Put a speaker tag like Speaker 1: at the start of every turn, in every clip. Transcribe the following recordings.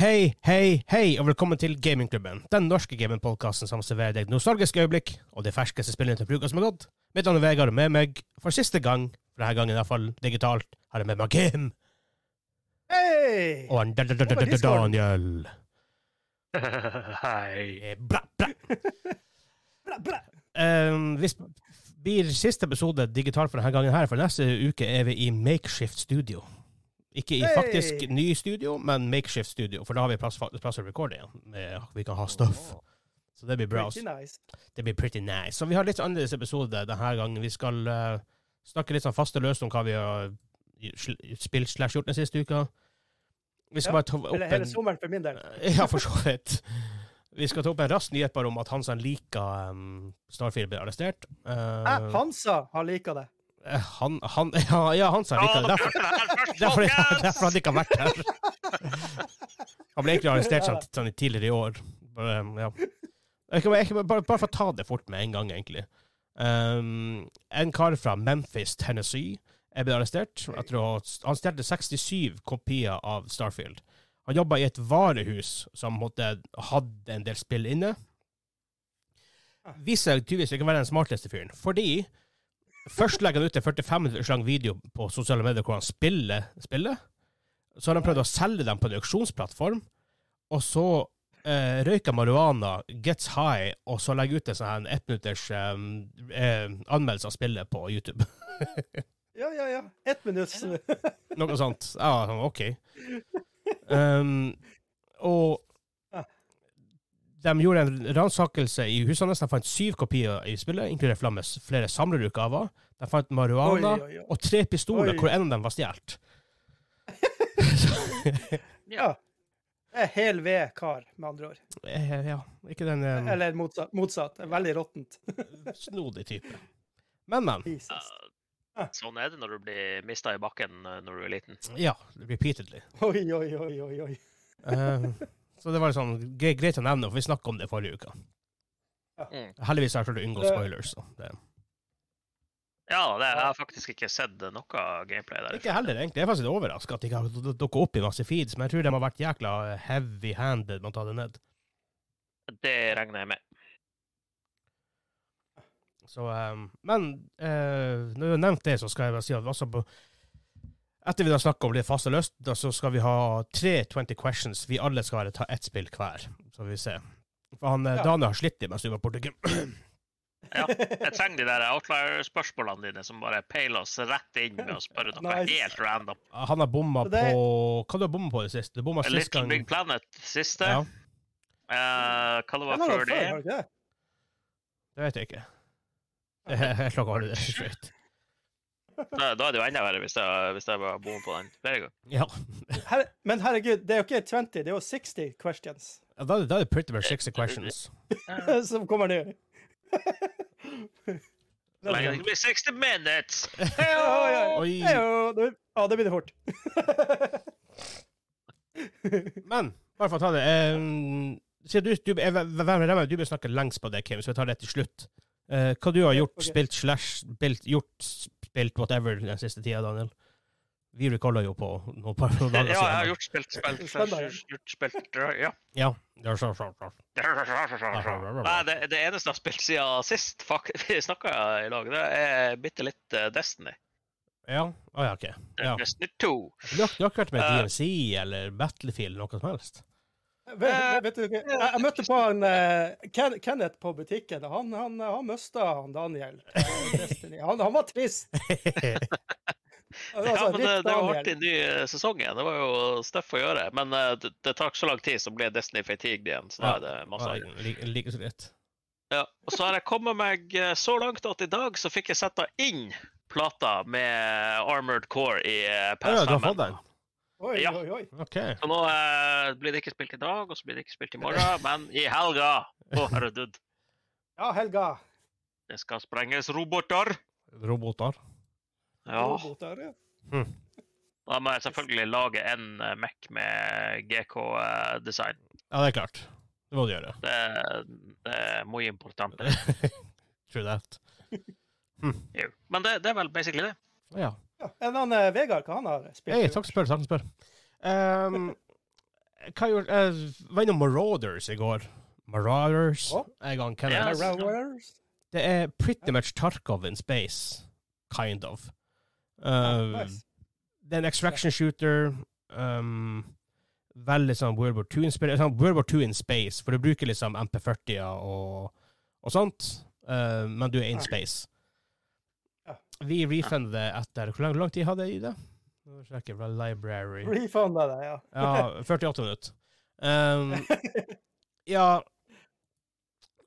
Speaker 1: Hei, hei, hei, og velkommen til Gamingklubben. Den norske gamingpodkasten som serverer deg nostalgiske øyeblikk og de ferskeste spillene til brukere som har gått. Mitt navn er Vegard, og med meg for siste gang, for denne gangen iallfall digitalt, har jeg med meg Kim
Speaker 2: Hei!
Speaker 1: og en da- da- da- da-
Speaker 2: Over
Speaker 1: da-
Speaker 2: Discord.
Speaker 1: Daniel.
Speaker 3: Hei.
Speaker 1: Eh, Bra, bra.
Speaker 2: Bra, bra.
Speaker 1: Um, hvis blir siste episode digital for denne gangen her, for neste uke er vi i Makeshift Studio. Ikke i
Speaker 2: Hey!
Speaker 1: faktisk ny studio, men Makeshift Studio, for da har vi plass, plass til å recorde igjen. Eh, Vi kan ha stuff. Så det blir bra. altså.
Speaker 2: Pretty nice.
Speaker 1: Det blir pretty nice. Så vi har litt annerledes episode denne gangen. Vi skal eh, snakke litt sånn faste løst om hva vi har sl- spilt slash gjort den siste uka. Vi skal bare
Speaker 2: Ja,
Speaker 1: ta opp
Speaker 2: Eller hele
Speaker 1: en
Speaker 2: sommeren for min del.
Speaker 1: Ja, for så vidt. Vi skal ta opp en rask nyhet bare om at han som liker um, Starfield, ble arrestert. Eh,
Speaker 2: Jeg, Hansa har lika det.
Speaker 1: eh, han, han, ja, ja, han som
Speaker 3: Ja,
Speaker 1: liker
Speaker 3: da
Speaker 1: det. Derfor,
Speaker 3: burde det her først,
Speaker 1: derfor,
Speaker 3: folkens!
Speaker 1: derfor han ikke har vært her. Han ble egentlig arrestert sånn, sånn tidligere i år. Bare, um, ja. jeg kan, jeg kan, bare, bare for å ta det fort med en gang, egentlig. Um, en kar fra Memphis, Tennessee, er blitt arrestert etter å Han stjal 67 kopier av Starfield. Han jobba i et varehus som måtte, hadde en del spill inne. Viser seg tydeligvis ikke å være den smarteste fyren, fordi Først legger han ut en 45 minutters lang video på sosiale medier hvor han spiller spillet. Så har han prøvd å selge dem på en auksjonsplattform, og så eh, røyker marihuana, gets high, og så legger ut en sånn her en ettminutters um, eh, anmeldelse av spillet på YouTube.
Speaker 2: Ja, ja, ja. Ett minutt.
Speaker 1: Noe sånt. Ja, sånn, OK. Um, og de gjorde en ransakelse i husene hans. De fant syv kopier i spillet, inkludert Flammes flere samlerutgaver. De fant
Speaker 2: Oi,
Speaker 1: marihuana.
Speaker 2: oi, oi.
Speaker 1: og tre pistoler,
Speaker 2: Oi.
Speaker 1: hvor en av dem var stjålet.
Speaker 2: Det er hel ved kar, med andre ord.
Speaker 1: Eh, Ja, ikke den eh,
Speaker 2: Eller motsatt. motsatt. Veldig råttent.
Speaker 1: snodig type. Men, men.
Speaker 2: Jesus.
Speaker 3: Ja, Sånn er det når du blir mista i bakken eh, når du er liten.
Speaker 1: Ja, repeatedly.
Speaker 2: Oi, oi, oi, oi, oi.
Speaker 1: Eh, så det var litt sånn gre greit å nevne, for vi snakka om det forrige uke.
Speaker 3: Mm.
Speaker 1: Heldigvis har jeg klart å unngå
Speaker 2: Det-
Speaker 1: spoilers. Så det.
Speaker 3: Ja, det, jeg har faktisk ikke sett eh, noe gameplay der.
Speaker 1: Ikke heller, egentlig. Jeg er faktisk litt overraska at de ikke har duk- dukket opp i masse feeds, men jeg tror de har vært jækla eh, heavy-handed med å ta det ned.
Speaker 3: Det regner jeg med.
Speaker 1: Så, eh, men eh, når du har nevnt det, så skal jeg bare si at altså på, etter vi da snakker om det faste løst, da, så skal vi ha tre 20 questions. Vi alle skal være ta ett spill hver, så får vi se. For han, eh,
Speaker 2: Ja.
Speaker 1: Daniel har slitt i mens du var borte. Kim.
Speaker 3: Ja, Jeg trenger de der outlier-spørsmålene dine som bare peiler oss rett inn med å spørre noe
Speaker 2: Nice.
Speaker 3: helt random.
Speaker 1: Han har bomma
Speaker 2: Så det-
Speaker 1: på Hva du har bomma på i det siste? Du bomma sist
Speaker 3: Little
Speaker 1: gang
Speaker 3: Big Planet, siste.
Speaker 1: Ja,
Speaker 3: Eh, hva det
Speaker 2: Den
Speaker 3: var
Speaker 2: har
Speaker 3: før
Speaker 2: vært
Speaker 3: det?
Speaker 2: før, har du ikke det?
Speaker 1: det vet jeg ikke. Jeg klarer ikke å holde det straight.
Speaker 3: Da, da er det jo enda verre hvis jeg, hvis jeg bare bommer på den flere ganger.
Speaker 1: Ja.
Speaker 2: Her, men herregud, det er jo ikke 20, det er jo 60 questions
Speaker 1: Da er det- da er det pretty much 60 questions.
Speaker 2: som kommer nå.
Speaker 3: Men det blir 60 minutes!
Speaker 2: Heio!
Speaker 1: Oi.
Speaker 2: Heio! Det- Ja, det blir det fort.
Speaker 1: Men bare for å ta det eh, Siden du, du, jeg, hvem er det? du bør snakke lengst på det, Kim, så vi tar det til slutt. Eh, hva du har gjort,
Speaker 2: Ok.
Speaker 1: spilt slash spilt, gjort, spilt whatever den siste tida, Daniel? Vi recorda jo på noen par noen dager
Speaker 3: Ja, jeg har
Speaker 1: siden.
Speaker 3: gjort spilt, spilt,
Speaker 2: Spennende.
Speaker 3: gjort- gjort spilt, ja.
Speaker 1: Ja, det er så- så- så.
Speaker 3: Nei, det, det eneste jeg har spilt siden sist fak- vi snakka i lag, det er bitte litt eh, Destiny.
Speaker 1: ja. Å ja, OK. Ja.
Speaker 3: Destiny 2.
Speaker 1: Du har, du har ikke vært med
Speaker 3: Eh.
Speaker 1: DMC eller Battlefield noe som helst?
Speaker 3: Eh,
Speaker 2: Vet, vet du, hva? jeg, jeg møtte på han eh, Ken, Kenneth på butikken. og Han, han, han mista han Daniel. på Destiny. Han, han var trist.
Speaker 3: Ja,
Speaker 2: Altså,
Speaker 3: men det,
Speaker 2: Rick
Speaker 3: det er jo
Speaker 2: Daniel.
Speaker 3: alltid en ny eh, sesong igjen. Det var jo stuff å gjøre. Men eh, det, det tar ikke så lang tid, så blir Destiny fatigued igjen. Så da er det masse å gjøre.
Speaker 1: Like, like så greit.
Speaker 3: ja, Og så har jeg kommet meg eh, så langt at i dag så fikk jeg setta inn plata med Armored Core i eh,
Speaker 1: Ja, ja, du har fått
Speaker 3: PS5.
Speaker 1: den?
Speaker 2: Oi,
Speaker 3: Ja.
Speaker 2: oi, oi.
Speaker 1: OK.
Speaker 3: Så nå eh, blir det ikke spilt i dag, og så blir det ikke spilt i morgen, men i helga! Å, herregud.
Speaker 2: Ja, Helga.
Speaker 3: Det skal sprenges roboter!
Speaker 1: Roboter. Hm.
Speaker 3: Ja.
Speaker 2: Roboter, ja.
Speaker 3: Da må jeg selvfølgelig lage en eh, Mac med GK-design.
Speaker 1: Ja, det er klart. Det må du gjøre.
Speaker 3: Det, det er mye important.
Speaker 1: True that. Hm.
Speaker 3: Jo. Men det, det er vel basically det.
Speaker 1: Ja.
Speaker 2: Ja. En annen eh, Vegard, hva han har spilt?
Speaker 1: Hei, takk som spør. Takk som spør. Ehm, Hva gjorde Jeg var innom Marauders i går. Marauders?
Speaker 2: Å?
Speaker 1: Jeg kan ikke
Speaker 3: Ja.
Speaker 1: det.
Speaker 2: Railways?
Speaker 1: Det er pretty much Tarkov in space. Kind of.
Speaker 2: Ja,
Speaker 1: Uh,
Speaker 2: Ah, nice.
Speaker 1: det er en extraction shooter. Um, veldig sånn World War II-inspirert. Sånn World War II in space, for du bruker liksom MP40-er og, og sånt, eh, men du er in
Speaker 2: Ja.
Speaker 1: space.
Speaker 2: Ah. Ja.
Speaker 1: Vi refundet det etter Hvor lang, lang tid hadde jeg i det? Nå sjekker jeg fra library.
Speaker 2: Refunda det, ja.
Speaker 1: Ja, 48 minutter. Um, ja,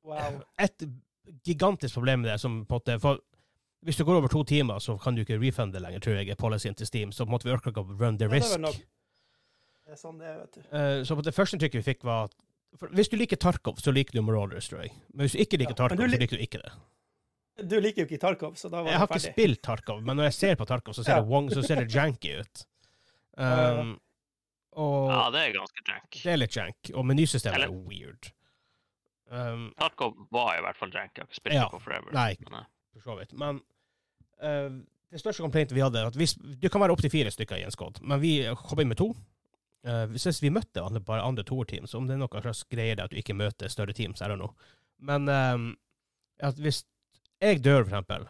Speaker 2: Wow.
Speaker 1: et gigantisk problem med det, som på en måte for Hvis du går over to timer, så kan du ikke refunde lenger, tror jeg, er policyen til Steam. Så på en måte vi orker ikke å run the
Speaker 2: Ja, det er
Speaker 1: risk.
Speaker 2: vel nok. Det er sånn det er, vet du.
Speaker 1: Eh, så på det første inntrykket vi fikk, var at for Hvis du liker Tarkov, så liker du Marauders, tror jeg. Men hvis du ikke liker
Speaker 2: Ja, men
Speaker 1: Tarkov,
Speaker 2: du
Speaker 1: så
Speaker 2: lik-
Speaker 1: liker du ikke det.
Speaker 2: Du liker jo ikke Tarkov, så da var
Speaker 1: Jeg har
Speaker 2: det
Speaker 1: ikke
Speaker 2: ferdig.
Speaker 1: spilt Tarkov, men når jeg ser på Tarkov, så ser
Speaker 2: Ja.
Speaker 1: det wong, så ser det janky ut.
Speaker 2: ja, ja.
Speaker 1: Um, og
Speaker 3: Ja, det er ganske jank.
Speaker 1: det er litt jank. Og menysystemet er
Speaker 3: Eller-
Speaker 1: weird. Um,
Speaker 3: Tarkov var i hvert fall jank. Jeg spilte
Speaker 1: Ja.
Speaker 3: ikke på Forever.
Speaker 1: Nei.
Speaker 3: Men, eh,
Speaker 1: for så vidt. Men eh, det største complaintet vi hadde, er at hvis, du kan være opptil fire stykker i en squad, men vi kom inn med to. Eh, hvis vi møtte andre, bare andre toerteam, så om det er noe slags greier der at du ikke møter større team, så er det noe. Men eh, at hvis jeg dør, for eksempel,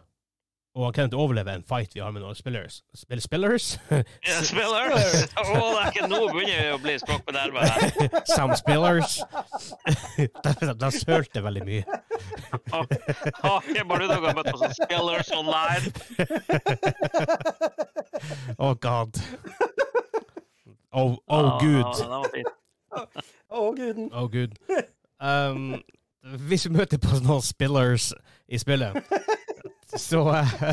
Speaker 1: og han kan ikke overleve en fight vi har med noen spillers Spill spillers?
Speaker 3: Ja, spiller! Å, det er ikke nå begynner jeg å bli språkbederva her.
Speaker 1: Some spillers? de de sølte veldig mye.
Speaker 3: Har ikke Baruda gått møtt på sånn spillers online?
Speaker 1: Oh god. Oh, oh
Speaker 3: Ja,
Speaker 1: gud.
Speaker 3: ja, det var fint.
Speaker 2: Å, guden.
Speaker 1: Oh, gud. Um, hvis vi møter på noen spillers i spillet, så eh,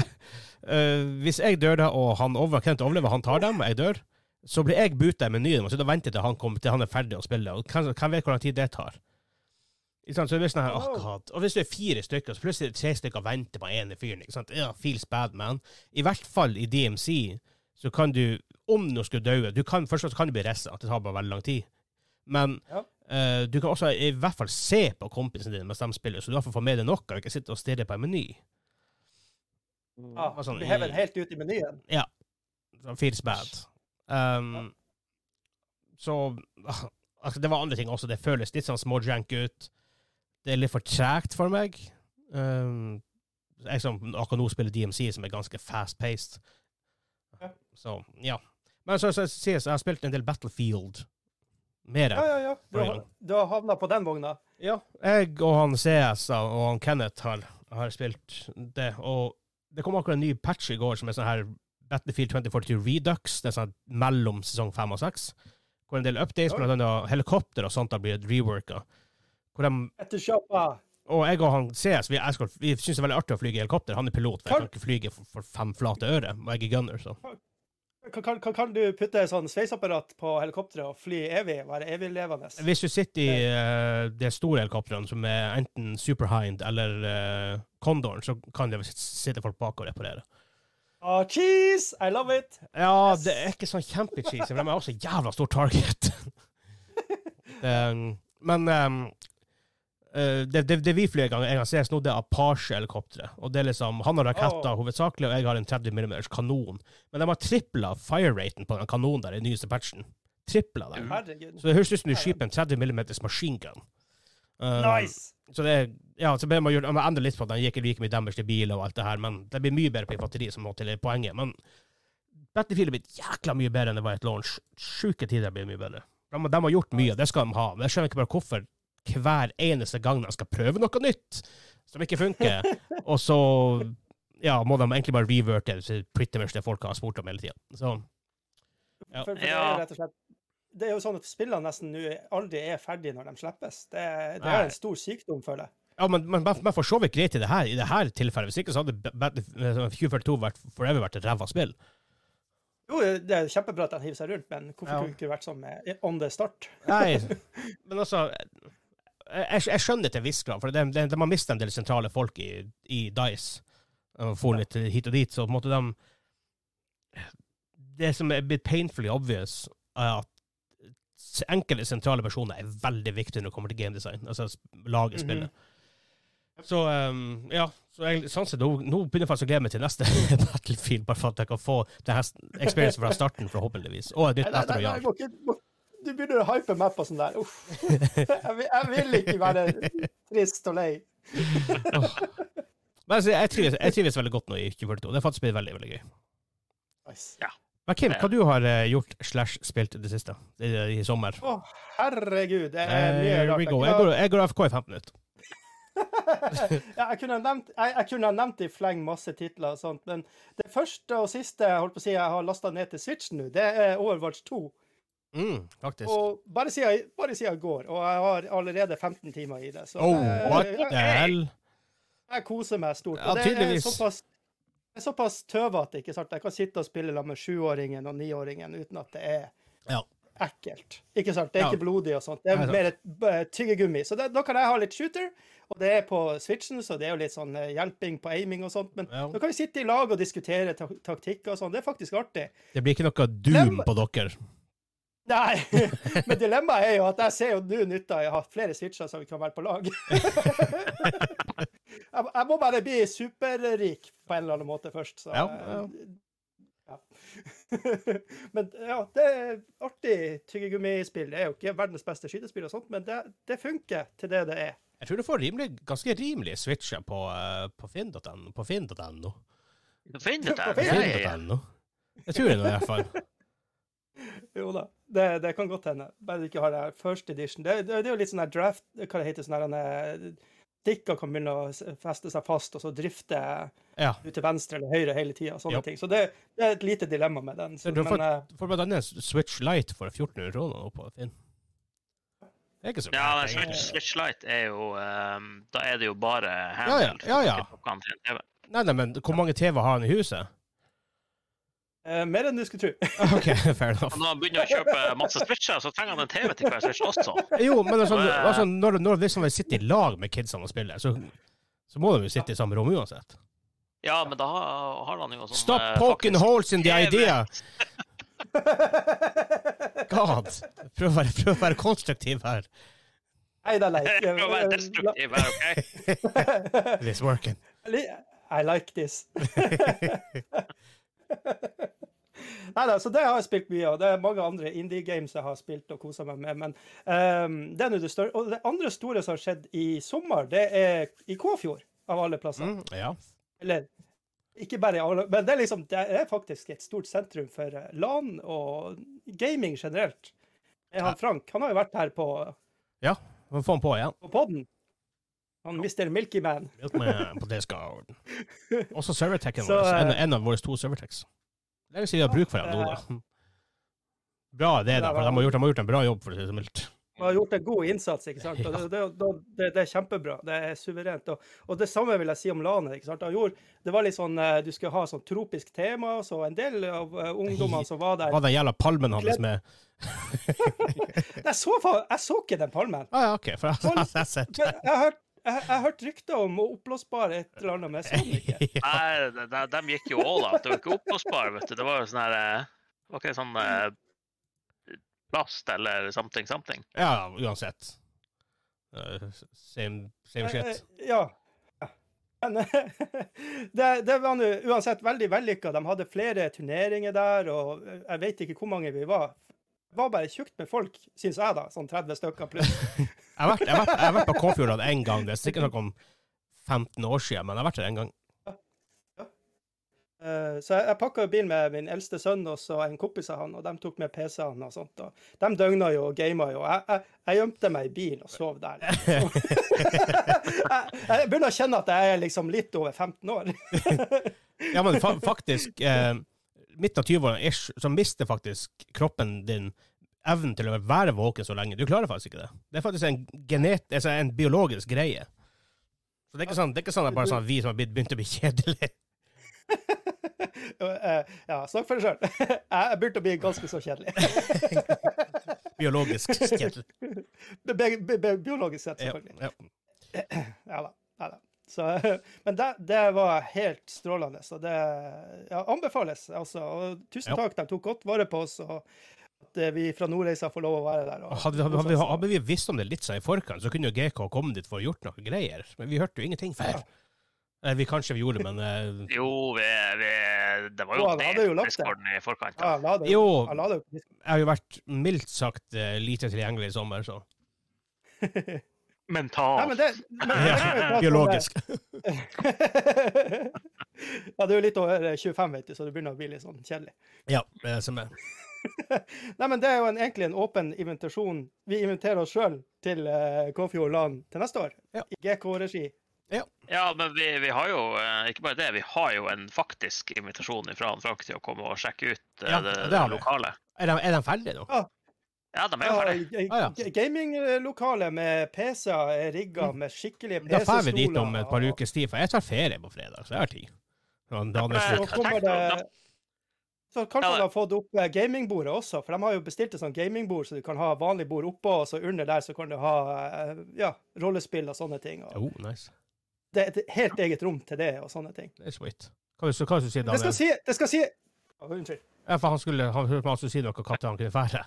Speaker 1: eh, Hvis jeg dør da, og han over, kan ikke overleve, han tar dem, og jeg dør, så blir jeg buta i menyen og sitter og venter til han, kommer, til han er ferdig å spille. Og hvem hvem vet hvor lang tid det tar? Ikke sant? Så det blir sånn her, åh,
Speaker 2: Oh.
Speaker 1: god. Og hvis du er fire stykker, så plutselig er det tre stykker og venter på ene fyren. ikke sant? Ja, feels bad, man. I hvert fall i DMC, så kan du, om noe skulle daue du kan, Først og fremst kan du bli ressa, det tar bare veldig lang tid. Men
Speaker 2: Ja.
Speaker 1: eh, du kan også i hvert fall se på kompisene dine mens de spiller, så du i hvert fall får med deg noe, og ikke sitter og stirrer på en meny.
Speaker 2: Ja,
Speaker 1: var sånn,
Speaker 2: vi Ah, hever
Speaker 1: eh,
Speaker 2: den helt ut i menyen.
Speaker 1: Så Feels bad. Um, Så ah, altså, Det var andre ting også. Det føles litt sånn småjank ut. Det er litt for tregt for meg. Um, jeg som akkurat nå spiller DMC, som er ganske fast-paced.
Speaker 2: Ja.
Speaker 1: Så, ja. Men så, så, sies jeg har spilt en del Battlefield. Mer.
Speaker 2: Ja, ja, ja. Du har,
Speaker 1: Bra.
Speaker 2: du har havna på den vogna.
Speaker 1: Ja, jeg og han CS og han Kenneth har, har spilt det, og det kom akkurat en ny patch i går som er sånn her Battlefield 2042 Redux, det er sånn mellom sesong 5 og 6, hvor en del updates,
Speaker 2: Oi.
Speaker 1: blant annet helikopter og sånt, har blitt reworka. Hvor de,
Speaker 2: Etter kjøpa.
Speaker 1: og jeg og han CS, vi, jeg skal, vi syns det er veldig artig å flyge i helikopter, han er pilot, for jeg kan ikke flyge for, for fem flate øre, og jeg er gunner, så.
Speaker 2: Kan, kan, kan, kan du putte sånn sveiseapparat på helikopteret og fly evig? Være eviglevende?
Speaker 1: Hvis du sitter i eh, de store helikoptrene, som er enten Superhind eller eh, Condoren, så kan det sitte folk bak og reparere.
Speaker 2: Ah, cheese! I love it!
Speaker 1: Ja,
Speaker 2: Yes.
Speaker 1: det er ikke sånn kjempecheesy, men de er også en jævla stor target. um, men um, eh, det, det, det vi flyr en gang, en gang ses nå, det er Apache-helikopteret. Og det er liksom, Han har raketter
Speaker 2: Oh.
Speaker 1: hovedsakelig, og jeg har en 30 mm kanon. Men de har tripla fire-raten på den kanonen der i den nyeste patchen. Tripla den.
Speaker 2: Herregud.
Speaker 1: Så det høres ut som du skyter en 30 mm maskingun. Um,
Speaker 2: Nice!
Speaker 1: Så det er, ja, så ber man gjøre, man endrer litt på at den gir ikke like mye damage til biler og alt det her, men det blir mye bedre på infanteri som må til er poenget. Men Battlefield er blitt jækla mye bedre enn det var i et launch. Sjuke tider blir mye bedre. De, de har gjort mye, det skal de ha, men jeg skjønner ikke bare hvorfor hver eneste gang de skal prøve noe nytt som ikke funker, og så ja, må de egentlig bare reverte det til pretty much det folk har spurt om hele tida. Så Ja.
Speaker 2: For, for det er
Speaker 3: Ja.
Speaker 2: jo rett og slett Det er jo sånn at spillene nesten nå aldri er ferdige når de slippes. Det, det
Speaker 1: Nei.
Speaker 2: er en stor sykdom, føler jeg.
Speaker 1: Ja, men, men, men for så vidt greit i det her, i det her tilfellet. Hvis ikke så hadde Battlefield 2042 vært, forever vært et ræva spill.
Speaker 2: Jo, det er kjempebra at de hiver seg rundt, men hvorfor
Speaker 1: Ja.
Speaker 2: kunne det ikke vært sånn med on the start?
Speaker 1: Nei, men altså Jeg, jeg skjønner til en viss grad, for de, de, de har mista en del sentrale folk i, i Dice. Og for litt hit og dit, så på en måte de Det som er blitt painfully obvious, er at s- enkelte sentrale personer er veldig viktige når det kommer til gamedesign, altså s-
Speaker 2: Mhm.
Speaker 1: laget spillet. Så um, ja, så jeg, sånn sett, nå, nå begynner jeg faktisk å glede meg til neste Battlefield, bare for at jeg kan få det her s- experiencen fra starten, forhåpentligvis. Og et nytt
Speaker 2: Nei, nei, nei,
Speaker 1: Battle
Speaker 2: nei,
Speaker 1: Royale.
Speaker 2: må ikke, må, du begynner å hype meg på sånn der. Uff. Jeg vil, jeg vil ikke være trist og lei.
Speaker 1: Men altså, jeg, trives, jeg trives veldig godt nå i 2042. Det har faktisk blitt veldig veldig gøy.
Speaker 2: Nice.
Speaker 1: Men Kim, hva du har eh, gjort slash spilt i det siste? I, i sommer?
Speaker 2: Å, herregud. Det er mye
Speaker 1: Eh, here we
Speaker 2: rart.
Speaker 1: go. Jeg går, jeg går AFK i 15 minutter.
Speaker 2: ja, jeg kunne ha nevnt, jeg, jeg kunne ha nevnt i fleng masse titler og sånt, men det første og siste jeg holdt på å si jeg har lasta ned til Switch nå, det er Overwatch 2.
Speaker 1: Mm, faktisk.
Speaker 2: Og bare siden, bare siden i går, og jeg har allerede 15 timer i det. Så eh,
Speaker 1: Oh,
Speaker 2: jeg-
Speaker 1: what
Speaker 2: jeg-
Speaker 1: the hell?
Speaker 2: Jeg koser meg stort.
Speaker 1: Ja,
Speaker 2: Og det er
Speaker 1: tydeligvis.
Speaker 2: såpass, det er såpass tøvete, ikke sant. Jeg kan sitte og spille sammen med sjuåringen og niåringen uten at det er
Speaker 1: Ja.
Speaker 2: ekkelt. Ikke sant? Det er
Speaker 1: Ja.
Speaker 2: ikke blodig og sånt. Det er
Speaker 1: Nei, sant.
Speaker 2: mer et eh, tyggegummi. Så det, da kan jeg ha litt shooter, og det er på switchen, så det er jo litt sånn eh, hjelping på aiming og sånt. Men
Speaker 1: Ja.
Speaker 2: da kan vi sitte i lag og diskutere ta taktikker og sånn. Det er faktisk artig.
Speaker 1: Det blir ikke noe doom på dere.
Speaker 2: Nei, men dilemmaet er jo at jeg ser jo nå nytta i å ha flere switcher så vi kan være på lag. jeg, jeg må bare bli superrik på en eller annen måte først, så eh,
Speaker 1: Ja,
Speaker 2: ja. men ja, det er artig tyggegummispill. Det er jo ikke verdens beste skytespill, og sånt, men det, det funker til det det er.
Speaker 1: Jeg tror du får rimelig, ganske rimelige switcher på, eh, på finn.no. På finn.no.
Speaker 3: Finn det
Speaker 2: På
Speaker 3: der. Ja, ja, ja.
Speaker 1: Finn.no. Jeg tror det nå, i hvert fall.
Speaker 2: Jo da, det, det kan godt hende. Bare du ikke har det her first edition. Det, det, det er jo litt sånn her draft Hva det heter sånn her Dikka kan begynne å s- feste seg fast, og så drifte
Speaker 1: Ja.
Speaker 2: du til venstre eller høyre hele tida. Sånne
Speaker 1: Ja.
Speaker 2: ting. Så det, det er et lite dilemma med den. Så,
Speaker 1: Du har
Speaker 2: men, eh,
Speaker 1: fått, får blant annet Switch Lite for 1400 kroner nå på Finn. Det er ikke så
Speaker 3: Ja,
Speaker 1: gærent,
Speaker 3: men Switch,
Speaker 1: egentlig.
Speaker 3: Switch Lite er jo ehm, Da er det jo bare
Speaker 1: Ja, ja, ja, ja.
Speaker 3: ja.
Speaker 1: Nei, nei, men hvor mange TV har han i huset?
Speaker 2: eh, mer enn du skulle tro.
Speaker 1: OK, fair enough.
Speaker 3: Og når han begynner å kjøpe masse Switcher, så trenger han en TV til hver Switch også.
Speaker 1: Jo, men altså, altså når, når hvis han vil sitte i lag med kidsene og spille, så, så må de jo sitte i samme rom uansett.
Speaker 3: Ja, men da har har han jo sånn
Speaker 1: Stop
Speaker 3: eh,
Speaker 1: poking
Speaker 3: faktisk-
Speaker 1: holes in the
Speaker 3: TV.
Speaker 1: idea! God! Prøv å være, prøv å være konstruktiv her.
Speaker 2: Nei, det er leit.
Speaker 3: Jeg prøver å være destruktiv her, OK?
Speaker 1: This working.
Speaker 2: I like this. Nei da, så det har jeg spilt mye av. Det er mange andre indie-games jeg har spilt og kosa meg med. Men ehm, det er nå det større. Og det andre store som har skjedd i sommer, det er i Kåfjord, av alle plasser.
Speaker 1: Mm, ja.
Speaker 2: Eller ikke bare i alle, men det er, liksom, det er faktisk et stort sentrum for eh, LAN og gaming generelt. Eh, Han Frank han har jo vært her på,
Speaker 1: Men få han på igjen.
Speaker 2: på poden. Han Mr. Milkyman.
Speaker 1: Hjelp meg på det skal Også servertekken
Speaker 2: Så,
Speaker 1: vår. En,
Speaker 2: eh,
Speaker 1: en av våre to serverteks. Lenge siden vi har bruk for dem nå, da. Bra det, da. For de har gjort, de har gjort en bra jobb, for å si det så mildt.
Speaker 2: Han har gjort en god innsats, ikke sant? Og det, det, det, det, det er kjempebra. Det er suverent. Og, og det samme vil jeg si om LAN. ikke sant? Han gjorde, det var litt sånn, eh, Du skulle ha sånn tropisk tema, så en del av eh, ungdommene som var der
Speaker 1: Hva den jævla palmen hans med
Speaker 2: Jeg så, fa- jeg så ikke den palmen.
Speaker 1: ah, ja, OK, for jeg jeg har sett
Speaker 2: Men jeg har hørt- jeg- jeg har hørt rykter om oppblåsbare et eller annet, men jeg så den ikke.
Speaker 3: Nei, de, de, de gikk jo all out. Det var ikke oppblåsbar, vet du. Det var jo sånn her eh, Det var ikke sånn eh, plast eller something, something.
Speaker 1: Ja, uansett. Eh, Same, same shit.
Speaker 2: Eh, Ja. Men det, det var nå uansett veldig vellykka. De hadde flere turneringer der, og jeg vet ikke hvor mange vi var. Det var bare tjukt med folk, syns jeg, da. Sånn 30 stykker pluss.
Speaker 1: Jeg har vært, jeg har vært, jeg har vært på Kåfjordene én gang, det er sikkert noe om 15 år siden, men jeg har vært der én gang.
Speaker 2: Eh, Så jeg, jeg pakka bil med min eldste sønn og så en kompis av han, og de tok med PC-en og sånt. Og de døgna jo og gama jo. Jeg, jeg, jeg gjemte meg i bil og sov der. liksom. jeg, jeg begynner å kjenne at jeg er liksom litt over 15 år.
Speaker 1: Ja, men fa faktisk, eh, midten av 20-årene ish, så mister faktisk kroppen din evnen til å være våken så lenge. Du klarer faktisk ikke det. Det er faktisk en, genet altså en biologisk greie. Så det er ikke sånn, det er ikke sånn at bare sånn vi som har blitt, begynt å bli kjedelige.
Speaker 2: Eh, ja, snakk for deg sjøl. jeg, jeg begynte å bli ganske så kjedelig.
Speaker 1: Biologisk kjedelig.
Speaker 2: Bi- bi- bi- bi- Biologisk sett,
Speaker 1: Ja,
Speaker 2: selvfølgelig.
Speaker 1: ja.
Speaker 2: Ja da. Ja, da. Så, men det, det var helt strålende. Så det ja, anbefales. Altså. Og tusen
Speaker 1: Ja.
Speaker 2: takk, de tok godt vare på oss, og at eh, vi fra Nordreisa får lov å være der. Og,
Speaker 1: Hadde, vi- hadde,
Speaker 2: Sånn.
Speaker 1: vi- hadde vi visst om det litt sånn i forkant, så kunne jo GK komme dit for å ha gjort noe greier. Men vi hørte jo ingenting før. Eh, vi kanskje vi gjorde, men eh,
Speaker 3: Jo, vi, vi eh, det var jo
Speaker 2: Og han hadde
Speaker 3: delt
Speaker 2: jo lagt det.
Speaker 3: Discorden i forkant.
Speaker 2: Ja,
Speaker 3: Da.
Speaker 2: han la det jo.
Speaker 1: Jo,
Speaker 2: Han la det jo.
Speaker 1: jeg har jo vært mildt sagt eh, lite tilgjengelig i sommer, så
Speaker 2: Nei,
Speaker 3: Mentalt.
Speaker 2: men det, men, det kan vi prate om, eh,
Speaker 1: Biologisk.
Speaker 2: ja, du er jo litt over 25, vet du, så det begynner å bli litt sånn kjedelig.
Speaker 1: Ja, det er det som er.
Speaker 2: Nei, men det er jo en, egentlig en åpen invitasjon. Vi inviterer oss sjøl til eh, Konfjord LAN til neste år.
Speaker 1: Ja.
Speaker 2: I GK-regi.
Speaker 3: Ja, men vi, vi har jo eh, ikke bare det, vi har jo en faktisk invitasjon fra han Frank til å komme og sjekke ut eh,
Speaker 1: Ja,
Speaker 3: det,
Speaker 1: det
Speaker 3: det
Speaker 1: har vi.
Speaker 3: lokale.
Speaker 1: Er de, er de ferdige nå?
Speaker 3: Ja, de er jo
Speaker 2: Ja,
Speaker 3: ferdige.
Speaker 2: g-
Speaker 1: Ah, ja.
Speaker 2: g- Gaminglokale med PC-er rigga med skikkelige
Speaker 1: Mm. Da drar
Speaker 2: PC-stoler.
Speaker 1: vi dit om et par
Speaker 2: og-
Speaker 1: ukers tid, for jeg tar ferie på fredag, så jeg har tid. Sånn, Daniel
Speaker 3: men-
Speaker 2: Så
Speaker 1: slutt.
Speaker 2: kommer
Speaker 3: Da-
Speaker 2: det Så kanskje
Speaker 3: Ja,
Speaker 2: de
Speaker 3: da-
Speaker 2: har fått opp eh, gamingbordet også, for de har jo bestilt et sånt gamingbord, så du kan ha vanlig bord oppå, og så under der så kan du ha eh, ja, rollespill og sånne ting. Og
Speaker 1: Oh, nice.
Speaker 2: det er et helt eget rom til det og sånne ting.
Speaker 1: Det er sweet. Hva, så, hva skulle du si,
Speaker 2: Det skal
Speaker 1: Daniel?
Speaker 2: si Det skal si Å, Unnskyld.
Speaker 1: Ja, for han skulle, han hørte meg også si noe om katter han kunne fære.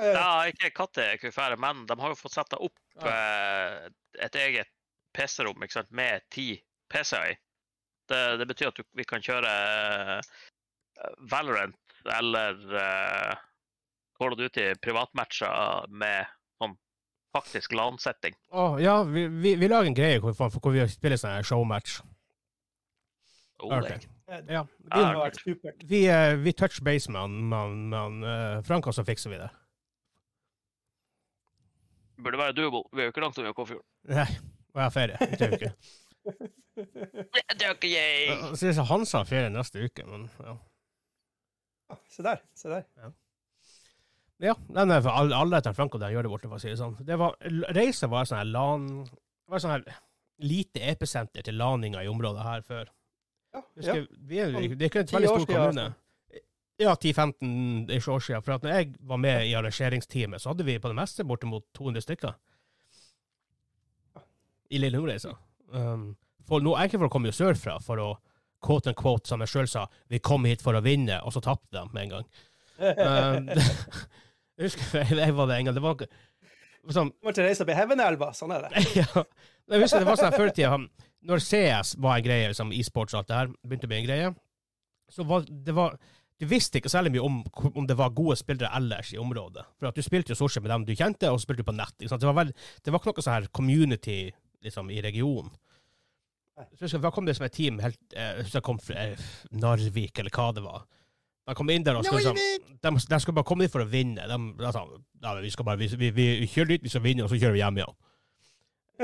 Speaker 2: Eh,
Speaker 3: Ja, ikke kattekufære, men de har jo fått sette opp
Speaker 1: Ja.
Speaker 3: eh, et eget PC-rom ikke sant, med ti PC-er i. Det, det betyr at du, vi kan kjøre eh, Valorant eller uh, Call of Duty privatmatcher med sånn faktisk LAN-setting.
Speaker 1: Å, ja, vi, vi, vi lager en greie hvor, vi- hvor vi spiller sånn her showmatch.
Speaker 3: Oh, det er
Speaker 1: Ok.
Speaker 3: ikke-
Speaker 1: Ja.
Speaker 2: Det
Speaker 3: Ja,
Speaker 2: hadde vært supert.
Speaker 1: Vi, eh, vi touch base med han, med han, med han eh, Frank, og så fikser vi det.
Speaker 3: Burde være doable. Vi er jo ikke langt unna Kåfjord.
Speaker 1: Nei, og jeg har ferie. Det er jo ikke.
Speaker 3: Det det er ikke jeg!
Speaker 1: Så det er så han sa ferie neste uke, men ja.
Speaker 2: Ja, Se der. Se der.
Speaker 1: Ja, nei, nei, for alle, alle etter Franco der gjør det borte, for å si det sånn. Det var, reisen var sånn her LAN Det var sånn her lite episenter til laninga i området her før.
Speaker 2: Ja, ja.
Speaker 1: Husker, vi er, jo- det er ikke en
Speaker 2: Ti
Speaker 1: veldig
Speaker 2: år
Speaker 1: stor
Speaker 2: siden, altså.
Speaker 1: kommune. Ja, 10-15 ish år siden. For at når jeg var med i arrangeringsteamet, så hadde vi på det meste bortimot 200 stykker. I Lille Nordreisa. Um, for nå, enkelte folk kom jo sørfra for å quote and quote, som jeg sjøl sa, vi kom hit for å vinne, og så tapte de med en gang. Um, jeg husker jeg, jeg var det en gang. Det var ikke- sånn
Speaker 2: Kommer til å reise opp i Hevenelva. Sånn er det.
Speaker 1: ja. Jeg husker det var sånn her før i tida, han- når CS var en greie, liksom e-sports og alt det her, begynte å bli en greie, så var det var, Du visste ikke særlig mye om om det var gode spillere ellers i området. For at du spilte jo stort sett med dem du kjente, og så spilte du på nett. Ikke sant? Det, var veld, det var ikke noe sånn her community liksom, i regionen. Så husker jeg, Da kom det som et team helt eh, jeg husker jeg kom fra eh, Narvik, eller hva det var. De kom inn der og skulle liksom, de, de skulle bare komme dit for å vinne. De, de sa ja, men vi, skal bare, vi, vi, vi kjører dit, vi skal vinne, og så kjører vi hjem igjen.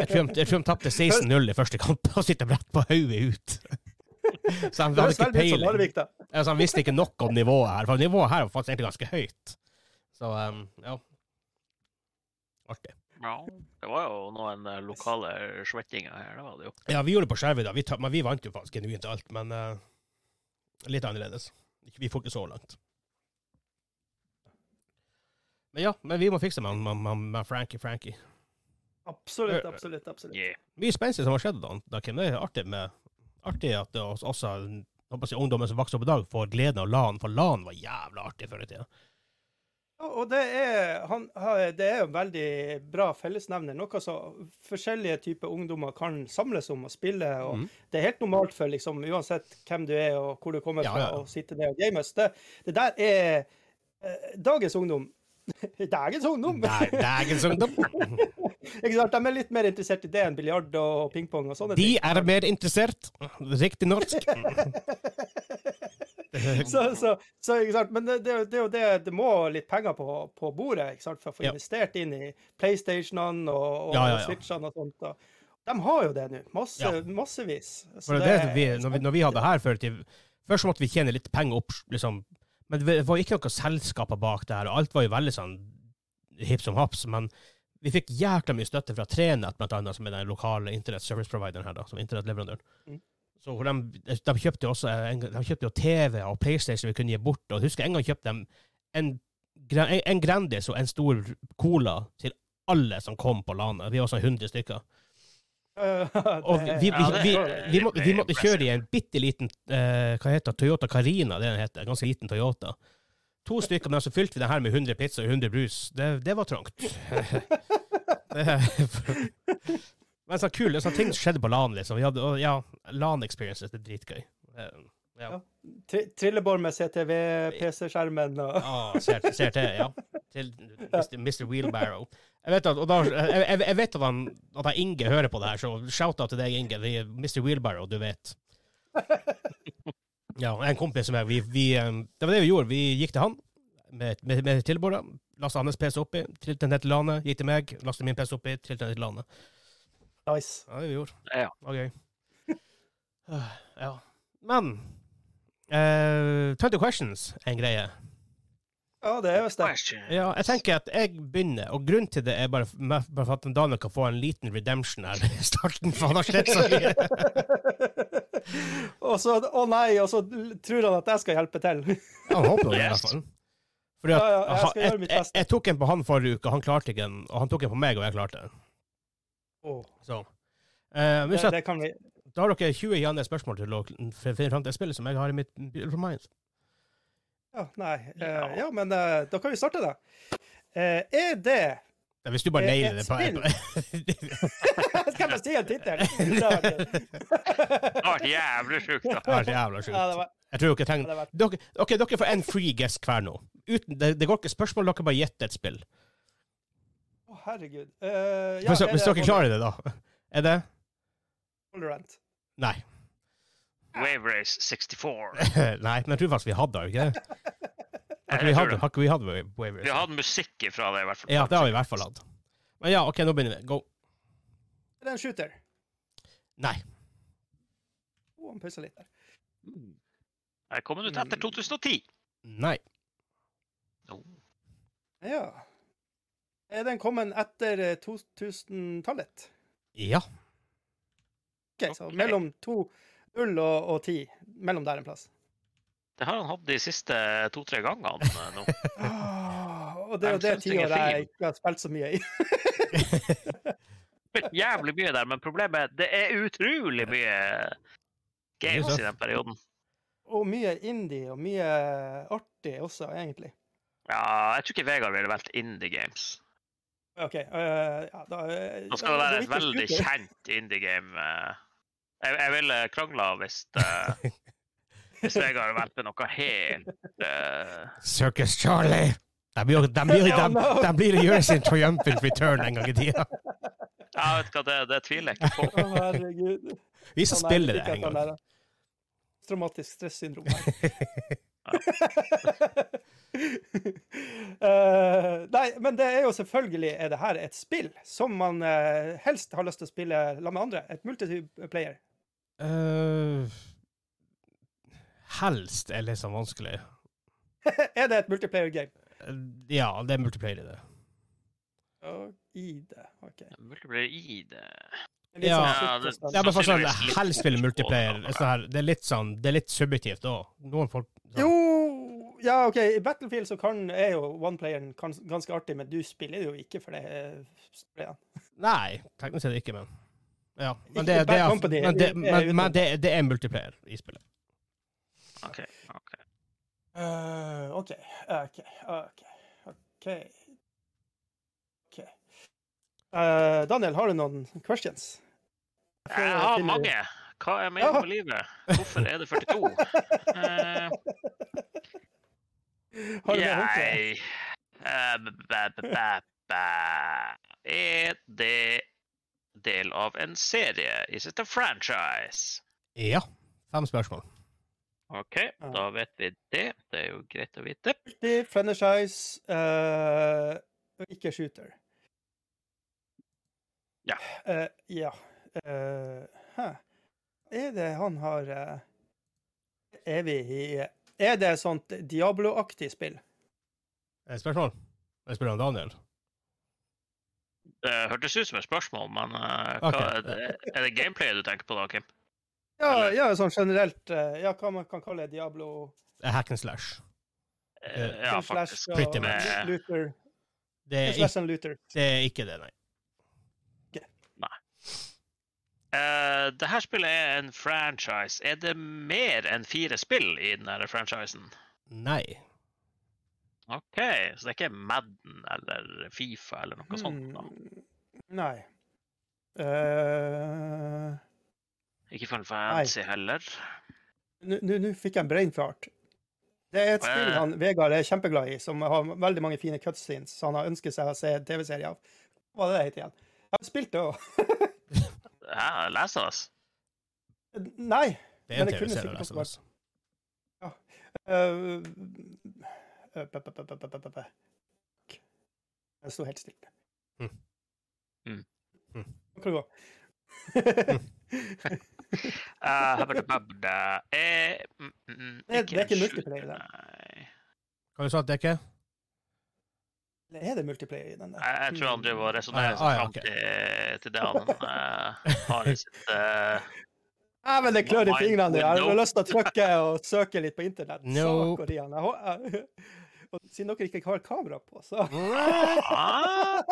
Speaker 1: Jeg tror de- jeg tror de tapte 16-0 i første kamp og sitter rett på hodet ut. Så de
Speaker 2: Det
Speaker 1: hadde
Speaker 2: høres
Speaker 1: ikke
Speaker 2: veldig ut som
Speaker 1: peiling.
Speaker 2: Narvik, da.
Speaker 1: Altså, han visste ikke nok om nivået her, for nivået her var faktisk egentlig ganske høyt. Så um, ja. Artig.
Speaker 3: Ja, det var jo noen eh, lokale svettinger her, det var det jo.
Speaker 1: Ja, vi gjorde det på skjervet da, vi ta, men vi vant jo faktisk genuint alt, men eh, litt annerledes. Ikke- Vi får ikke så langt. Men ja, men vi må fikse med, han- med, med, med Frankie Frankie.
Speaker 2: Absolutt,
Speaker 1: Eh.
Speaker 2: absolutt. absolutt.
Speaker 3: Yeah.
Speaker 1: Mye spenstig som har skjedd da, da Kim. Det er artig, med, artig at det også, også jeg håper å si, ungdommen som vokser opp i dag, får gleden av LAN, for LAN var jævla artig før i tida.
Speaker 2: Ja, Og det er, han, ha- det er jo en veldig bra fellesnevner. Noe som forskjellige typer ungdommer kan samles om og spille. og
Speaker 1: Mhm.
Speaker 2: Det er helt normalt for liksom, uansett hvem du er og hvor du kommer
Speaker 1: Ja,
Speaker 2: fra,
Speaker 1: ja, ja.
Speaker 2: å sitte ned og game. Så Det, det der er eh, dagens ungdom. dagens ungdom!
Speaker 1: Nei, dagens ungdom.
Speaker 2: Ikke sant? De er litt mer interessert i det enn biljard og pingpong og sånne
Speaker 1: De
Speaker 2: ting.
Speaker 1: er mer interessert. Riktig norsk.
Speaker 2: Så, så, så, ikke sant? Men det, det, er jo- det er jo det det må litt penger på, på bordet ikke sant? for å få
Speaker 1: Ja.
Speaker 2: investert inn i PlayStationene og, og
Speaker 1: Ja, ja, ja.
Speaker 2: Switchene og sånt. Og, de har jo det nå, masse,
Speaker 1: Ja.
Speaker 2: massevis. Så
Speaker 1: For det, er det, vi, når, vi, når vi hadde her før i tiden, først måtte vi tjene litt penger opp, liksom. Men det var ikke noen selskaper bak det her, og alt var jo veldig sånn hipp som haps. Men vi fikk jækla mye støtte fra Trenett, blant annet, som er den lokale internett service provideren her, da, som er internettleverandøren.
Speaker 2: Mm.
Speaker 1: Så hvor de, de kjøpte jo også en, de kjøpte jo TV og PlayStation vi kunne gi bort. Og husker jeg en gang kjøpte de en, gra- en, en Grandis og en stor Cola til alle som kom på landet. Vi var sånn 100 stykker. Og vi, vi,
Speaker 3: Ja, det-
Speaker 1: vi, vi, må,
Speaker 3: det er
Speaker 1: vi måtte kjøre i
Speaker 3: impressive.
Speaker 1: en bitte liten eh, hva heter det, Toyota Carina, det den heter. Ganske liten Toyota. To stykker, men så fylte vi den her med 100 pizza og 100 brus. Det, det var trangt. Det- men så kul, det er sånne ting som skjedde på LAN, liksom. Vi hadde, og ja, LAN-experiences, det er dritgøy. Eh, ja.
Speaker 2: Tri trillebår med CTV-PC-skjermen og
Speaker 1: Ah, ser, ser til, ja. Til Mr. Mr. Wheelbarrow. Jeg vet at, og da, jeg, jeg- jeg vet at, han, at han Inge hører på det her, så shout-out til deg, Inge. Vi, Mr. Wheelbarrow, du vet. Ja, og en kompis som jeg, vi, vi, eh, Det var det vi gjorde. Vi gikk til han med, med, med tilbordet. Lasta hans PC oppi, trilte den ned til LANet. Gikk til meg, lasta min PC oppi, trilte den ned til LANet.
Speaker 2: Nice.
Speaker 1: Ja, det vi gjorde.
Speaker 3: Ja.
Speaker 1: Det var gøy. Ah, Ja. Men eh, 20 questions er en greie.
Speaker 2: Ja, det er visst det.
Speaker 3: Question.
Speaker 1: Ja, jeg tenker at jeg begynner, og grunnen til det er bare, bare for at Daniel kan få en liten redemption her i starten, for han har slett så mye.
Speaker 2: og så Å nei, og så tror han at jeg skal hjelpe til.
Speaker 1: Han håper jo det, i hvert fall. Fordi at,
Speaker 2: Ja, ja, jeg
Speaker 1: han-
Speaker 2: skal gjøre mitt
Speaker 1: jeg,
Speaker 2: beste.
Speaker 1: jeg tok en på han forrige uke, og han klarte ikke den, og han tok en på meg, og jeg klarte den.
Speaker 2: Åh,
Speaker 1: Så. Eh, men
Speaker 2: det,
Speaker 1: så at,
Speaker 2: det kan vi
Speaker 1: da har dere 20 gjerne spørsmål til å kl- f- finne fram til spillet som jeg har i mitt beautiful mind.
Speaker 2: Ja, nei. eh,
Speaker 3: Ja.
Speaker 2: ja, men eh, da kan vi starte, da. Eh, er det
Speaker 1: Ja, Hvis du bare
Speaker 2: Det er
Speaker 1: nailer det
Speaker 2: et
Speaker 1: på
Speaker 2: Skal jeg bare si en tittel? Det har vært gøy.
Speaker 3: Det har vært jævlig sjukt, da.
Speaker 1: Det er jævla
Speaker 2: Ja, det
Speaker 1: sjukt.
Speaker 2: var-
Speaker 1: Jeg tror dere trenger
Speaker 2: det var-
Speaker 1: dere, ok, dere får en free guest hver nå. Uten, det, det går ikke spørsmål, dere bare gjetter et spill.
Speaker 2: Å, herregud. Eh, ja,
Speaker 1: hvis,
Speaker 2: er det
Speaker 1: hvis dere klarer det, da. Er det
Speaker 2: Valorant?
Speaker 1: Nei.
Speaker 3: Wave Race 64.
Speaker 1: Nei, men jeg tror faktisk vi hadde det, ikke det? Har
Speaker 3: Jeg
Speaker 1: ikke vi
Speaker 3: tror
Speaker 1: hatt
Speaker 3: det.
Speaker 1: har ikke vi hatt Wa- Wavers?
Speaker 3: Vi har hatt musikk ifra det, i hvert fall.
Speaker 1: Ja, det har vi i hvert fall hatt. Men ja, OK, nå begynner vi. Go.
Speaker 2: Er det en shooter?
Speaker 1: Nei.
Speaker 2: Å, han pusser litt der.
Speaker 3: Mm. Jeg kom ut
Speaker 1: Mm.
Speaker 3: etter 2010.
Speaker 1: Nei.
Speaker 2: Ja. Er den kommet etter eh, 2000-tallet?
Speaker 1: Ja.
Speaker 2: OK, så
Speaker 3: Ok.
Speaker 2: mellom 2.0 og, og 10. Mellom der en plass.
Speaker 3: Det har han hatt de siste to-tre gangene eh, nå.
Speaker 2: Ah, og det er jo det
Speaker 3: Jeg synes den er
Speaker 2: tiåret jeg
Speaker 3: fin.
Speaker 2: ikke har spilt så mye i.
Speaker 3: Spilt jævlig mye der, men problemet er at det er utrolig mye games i den perioden.
Speaker 2: Og mye indie, og mye artig også, egentlig.
Speaker 3: Ja, jeg tror ikke Vegard ville valgt Indie Games.
Speaker 2: OK. eh, ja, da, eh,
Speaker 3: Nå skal det
Speaker 2: da- da
Speaker 3: være et
Speaker 2: gikk det
Speaker 3: veldig
Speaker 2: shooter.
Speaker 3: kjent indie game. eh. Jeg, jeg ville krangla hvis, eh, hvis Vegard valgte noe helt eh,
Speaker 1: Circus Charlie. De blir, de blir, de,
Speaker 2: Oh, no.
Speaker 1: de blir å gjøre sin triumphant return en gang i tida.
Speaker 3: Ja, vet du hva, det, det tviler jeg ikke på.
Speaker 2: Å, herregud.
Speaker 1: Vi skal
Speaker 2: Han er-
Speaker 1: spille det en
Speaker 2: fikk at han
Speaker 1: gang.
Speaker 2: er- Traumatisk stressyndrom. her. Eh, nei, men det er jo selvfølgelig er det her et spill som man eh, helst har lyst til å spille sammen med andre. Et multiplayer.
Speaker 1: Eh, helst er litt sånn vanskelig.
Speaker 2: er det et multiplayer game?
Speaker 1: Eh, Ja, det er multiplayer i det.
Speaker 2: Ja, I det, OK.
Speaker 3: Multiplayer i det
Speaker 2: En litt
Speaker 1: Ja.
Speaker 2: sånn
Speaker 3: Ja,
Speaker 2: skytterstand.
Speaker 1: Ja, men for sånn,
Speaker 3: Sannsynligvis litt
Speaker 1: helst spille multiplayer.
Speaker 3: overfor
Speaker 1: Sånn her, det er litt sånn, det er litt subjektivt òg. Noen folk sånn,
Speaker 2: Jo Ja, OK, i Battlefield så kan, er jo one-playeren kan- ganske artig, men du spiller jo ikke for det. eh, storyen.
Speaker 1: Nei, teknisk sett ikke, men Ja. Men det,
Speaker 2: Ikke
Speaker 1: det,
Speaker 2: Bad
Speaker 1: er, altså,
Speaker 2: Company,
Speaker 1: men det,
Speaker 2: det er
Speaker 1: men,
Speaker 2: utenom.
Speaker 1: men det, det er multiplayer i spillet.
Speaker 3: OK. ok.
Speaker 2: Eh, OK, OK, OK. ok. Ok. Eh, Daniel, har du noen questions?
Speaker 3: Jeg
Speaker 2: eh.
Speaker 3: har mange. Hva er meningen med livet? Hvorfor er det 42? Eh,
Speaker 2: Har du yeah. det?
Speaker 3: Jeg Eh, bæ, bæ, bæ, bæ. Er det del av en serie? Is it a franchise?
Speaker 1: Ja. Fem spørsmål.
Speaker 3: OK, da vet vi det. Det er jo greit å vite.
Speaker 2: Multi, franchise, eh, og ikke shooter.
Speaker 3: Ja.
Speaker 2: Eh, ja. Eh, hæ. Er det han har eh, Er vi i Er det et sånt Diablo-aktig spill?
Speaker 1: Er det Eh, Spørsmål? Jeg spør om Daniel.
Speaker 3: Det Eh, hørtes ut som et spørsmål, men eh, hva,
Speaker 1: Ok.
Speaker 3: er, det, er det gameplayet du tenker på da, Kim?
Speaker 2: Ja,
Speaker 3: Eller-
Speaker 2: ja sånn generelt eh, Ja, hva man kan kalle Diablo
Speaker 1: Det er Hack and slash.
Speaker 3: Eh,
Speaker 1: Eh,
Speaker 3: ja,
Speaker 2: slash
Speaker 3: faktisk. Eh,
Speaker 2: og
Speaker 1: Pretty eh,
Speaker 3: much.
Speaker 2: Lu- Luther.
Speaker 1: Det er,
Speaker 2: Slash
Speaker 1: ikke,
Speaker 2: and Luther.
Speaker 1: det er ikke det, nei.
Speaker 3: Uh, det her spillet er en franchise. Er det mer enn fire spill i den her franchisen?
Speaker 1: Nei.
Speaker 3: OK, så det er ikke Madden eller Fifa eller noe sånt? da.
Speaker 2: Hmm, Nei. Eh,
Speaker 3: Ikke Final Fantasy heller.
Speaker 2: Nå- Nå nå fikk jeg en brain fart. Det er et spill han, Vegard er kjempeglad i, som har veldig mange fine cutscenes som han har ønsket seg å se en TV-serie av. Hva var det det het igjen? Jeg har spilt det òg.
Speaker 3: Ja, leser oss.
Speaker 2: Nei.
Speaker 1: Det er en
Speaker 2: Men det kunne
Speaker 1: TV-serie. altså. Last
Speaker 2: sikkert
Speaker 1: of
Speaker 2: også
Speaker 1: Us.
Speaker 2: øh, øh, pe- pe- pe- pe- pe- pe- pe. Jeg sto helt stille.
Speaker 1: Mm.
Speaker 3: Mm.
Speaker 1: Mm.
Speaker 2: Prøv å
Speaker 3: Eh, habadababda. Eh, mm, mm,
Speaker 2: Det er- det er ikke
Speaker 3: en
Speaker 2: multiplayer,
Speaker 3: shooter,
Speaker 2: det.
Speaker 3: nei.
Speaker 1: Hva du sa du, Dekke?
Speaker 2: Eller Er det multiplayer i den der?
Speaker 3: Jeg, jeg tror han driver og
Speaker 1: Ah, ja,
Speaker 3: resonnerer seg
Speaker 1: ah, ja,
Speaker 3: fram
Speaker 1: ok.
Speaker 3: til, til det han eh, har i sitt eh,
Speaker 2: Nei, men det klør i
Speaker 3: Mind
Speaker 2: fingrene. nå. Jeg har
Speaker 3: window.
Speaker 2: lyst til å trykke og søke litt på internett.
Speaker 1: Nope.
Speaker 2: Saker igjen. Jeg hå- jeg- Og siden dere ikke har kamera på, så
Speaker 3: ah,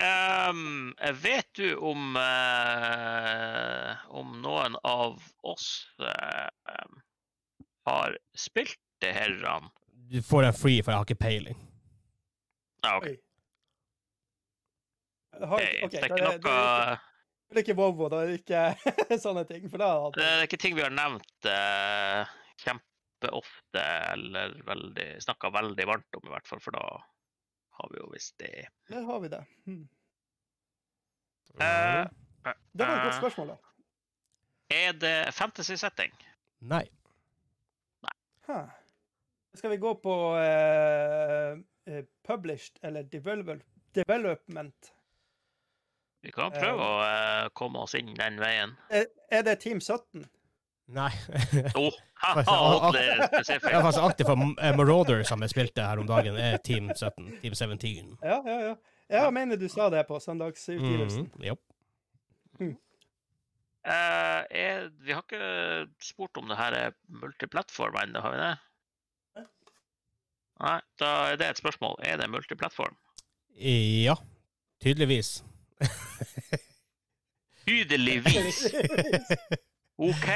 Speaker 3: Ehm, Vet du om eh, om noen av oss eh, em, har spilt det her? Ran?
Speaker 1: Du får den free, for jeg har ikke peiling.
Speaker 3: Ja, ok.
Speaker 2: Oi. Har,
Speaker 3: Ok,
Speaker 2: ok,
Speaker 3: det, er
Speaker 2: da
Speaker 3: ikke noe,
Speaker 2: det, er ikke- det er ikke WoW, og det er ikke sånne ting. For da hadde
Speaker 3: det er ikke ting vi har nevnt eh, kjempeofte eller veldig, snakka veldig varmt om, i hvert fall, for da har vi jo visst det.
Speaker 2: Der har vi det. Hmm.
Speaker 3: Eh,
Speaker 2: Det var et godt
Speaker 3: Eh.
Speaker 2: spørsmål, da.
Speaker 3: Er det fantasy-setting?
Speaker 1: Nei.
Speaker 2: Huh. Skal vi gå på eh, eh, published eller develop, development?
Speaker 3: Vi kan prøve å eh, komme oss inn den veien.
Speaker 2: Er, er det Team 17?
Speaker 1: Nei.
Speaker 3: Oh, haha,
Speaker 1: Altså,
Speaker 3: det er
Speaker 1: Jeg var
Speaker 3: spesifikt.
Speaker 1: faktisk aktiv for eh, Marauder, som jeg spilte her om dagen, er Team 17. Team 17.
Speaker 2: Ja, ja, ja. Jeg mener du sa det på søndagsutgivelsen.
Speaker 3: Mm.
Speaker 1: Mhm, jopp.
Speaker 3: Eh, er, vi har ikke spurt om det her er multiplattform ennå, har vi det? Nei, da er det et spørsmål. Er det multiplattform?
Speaker 1: Ja. Tydeligvis.
Speaker 3: Tydeligvis! OK.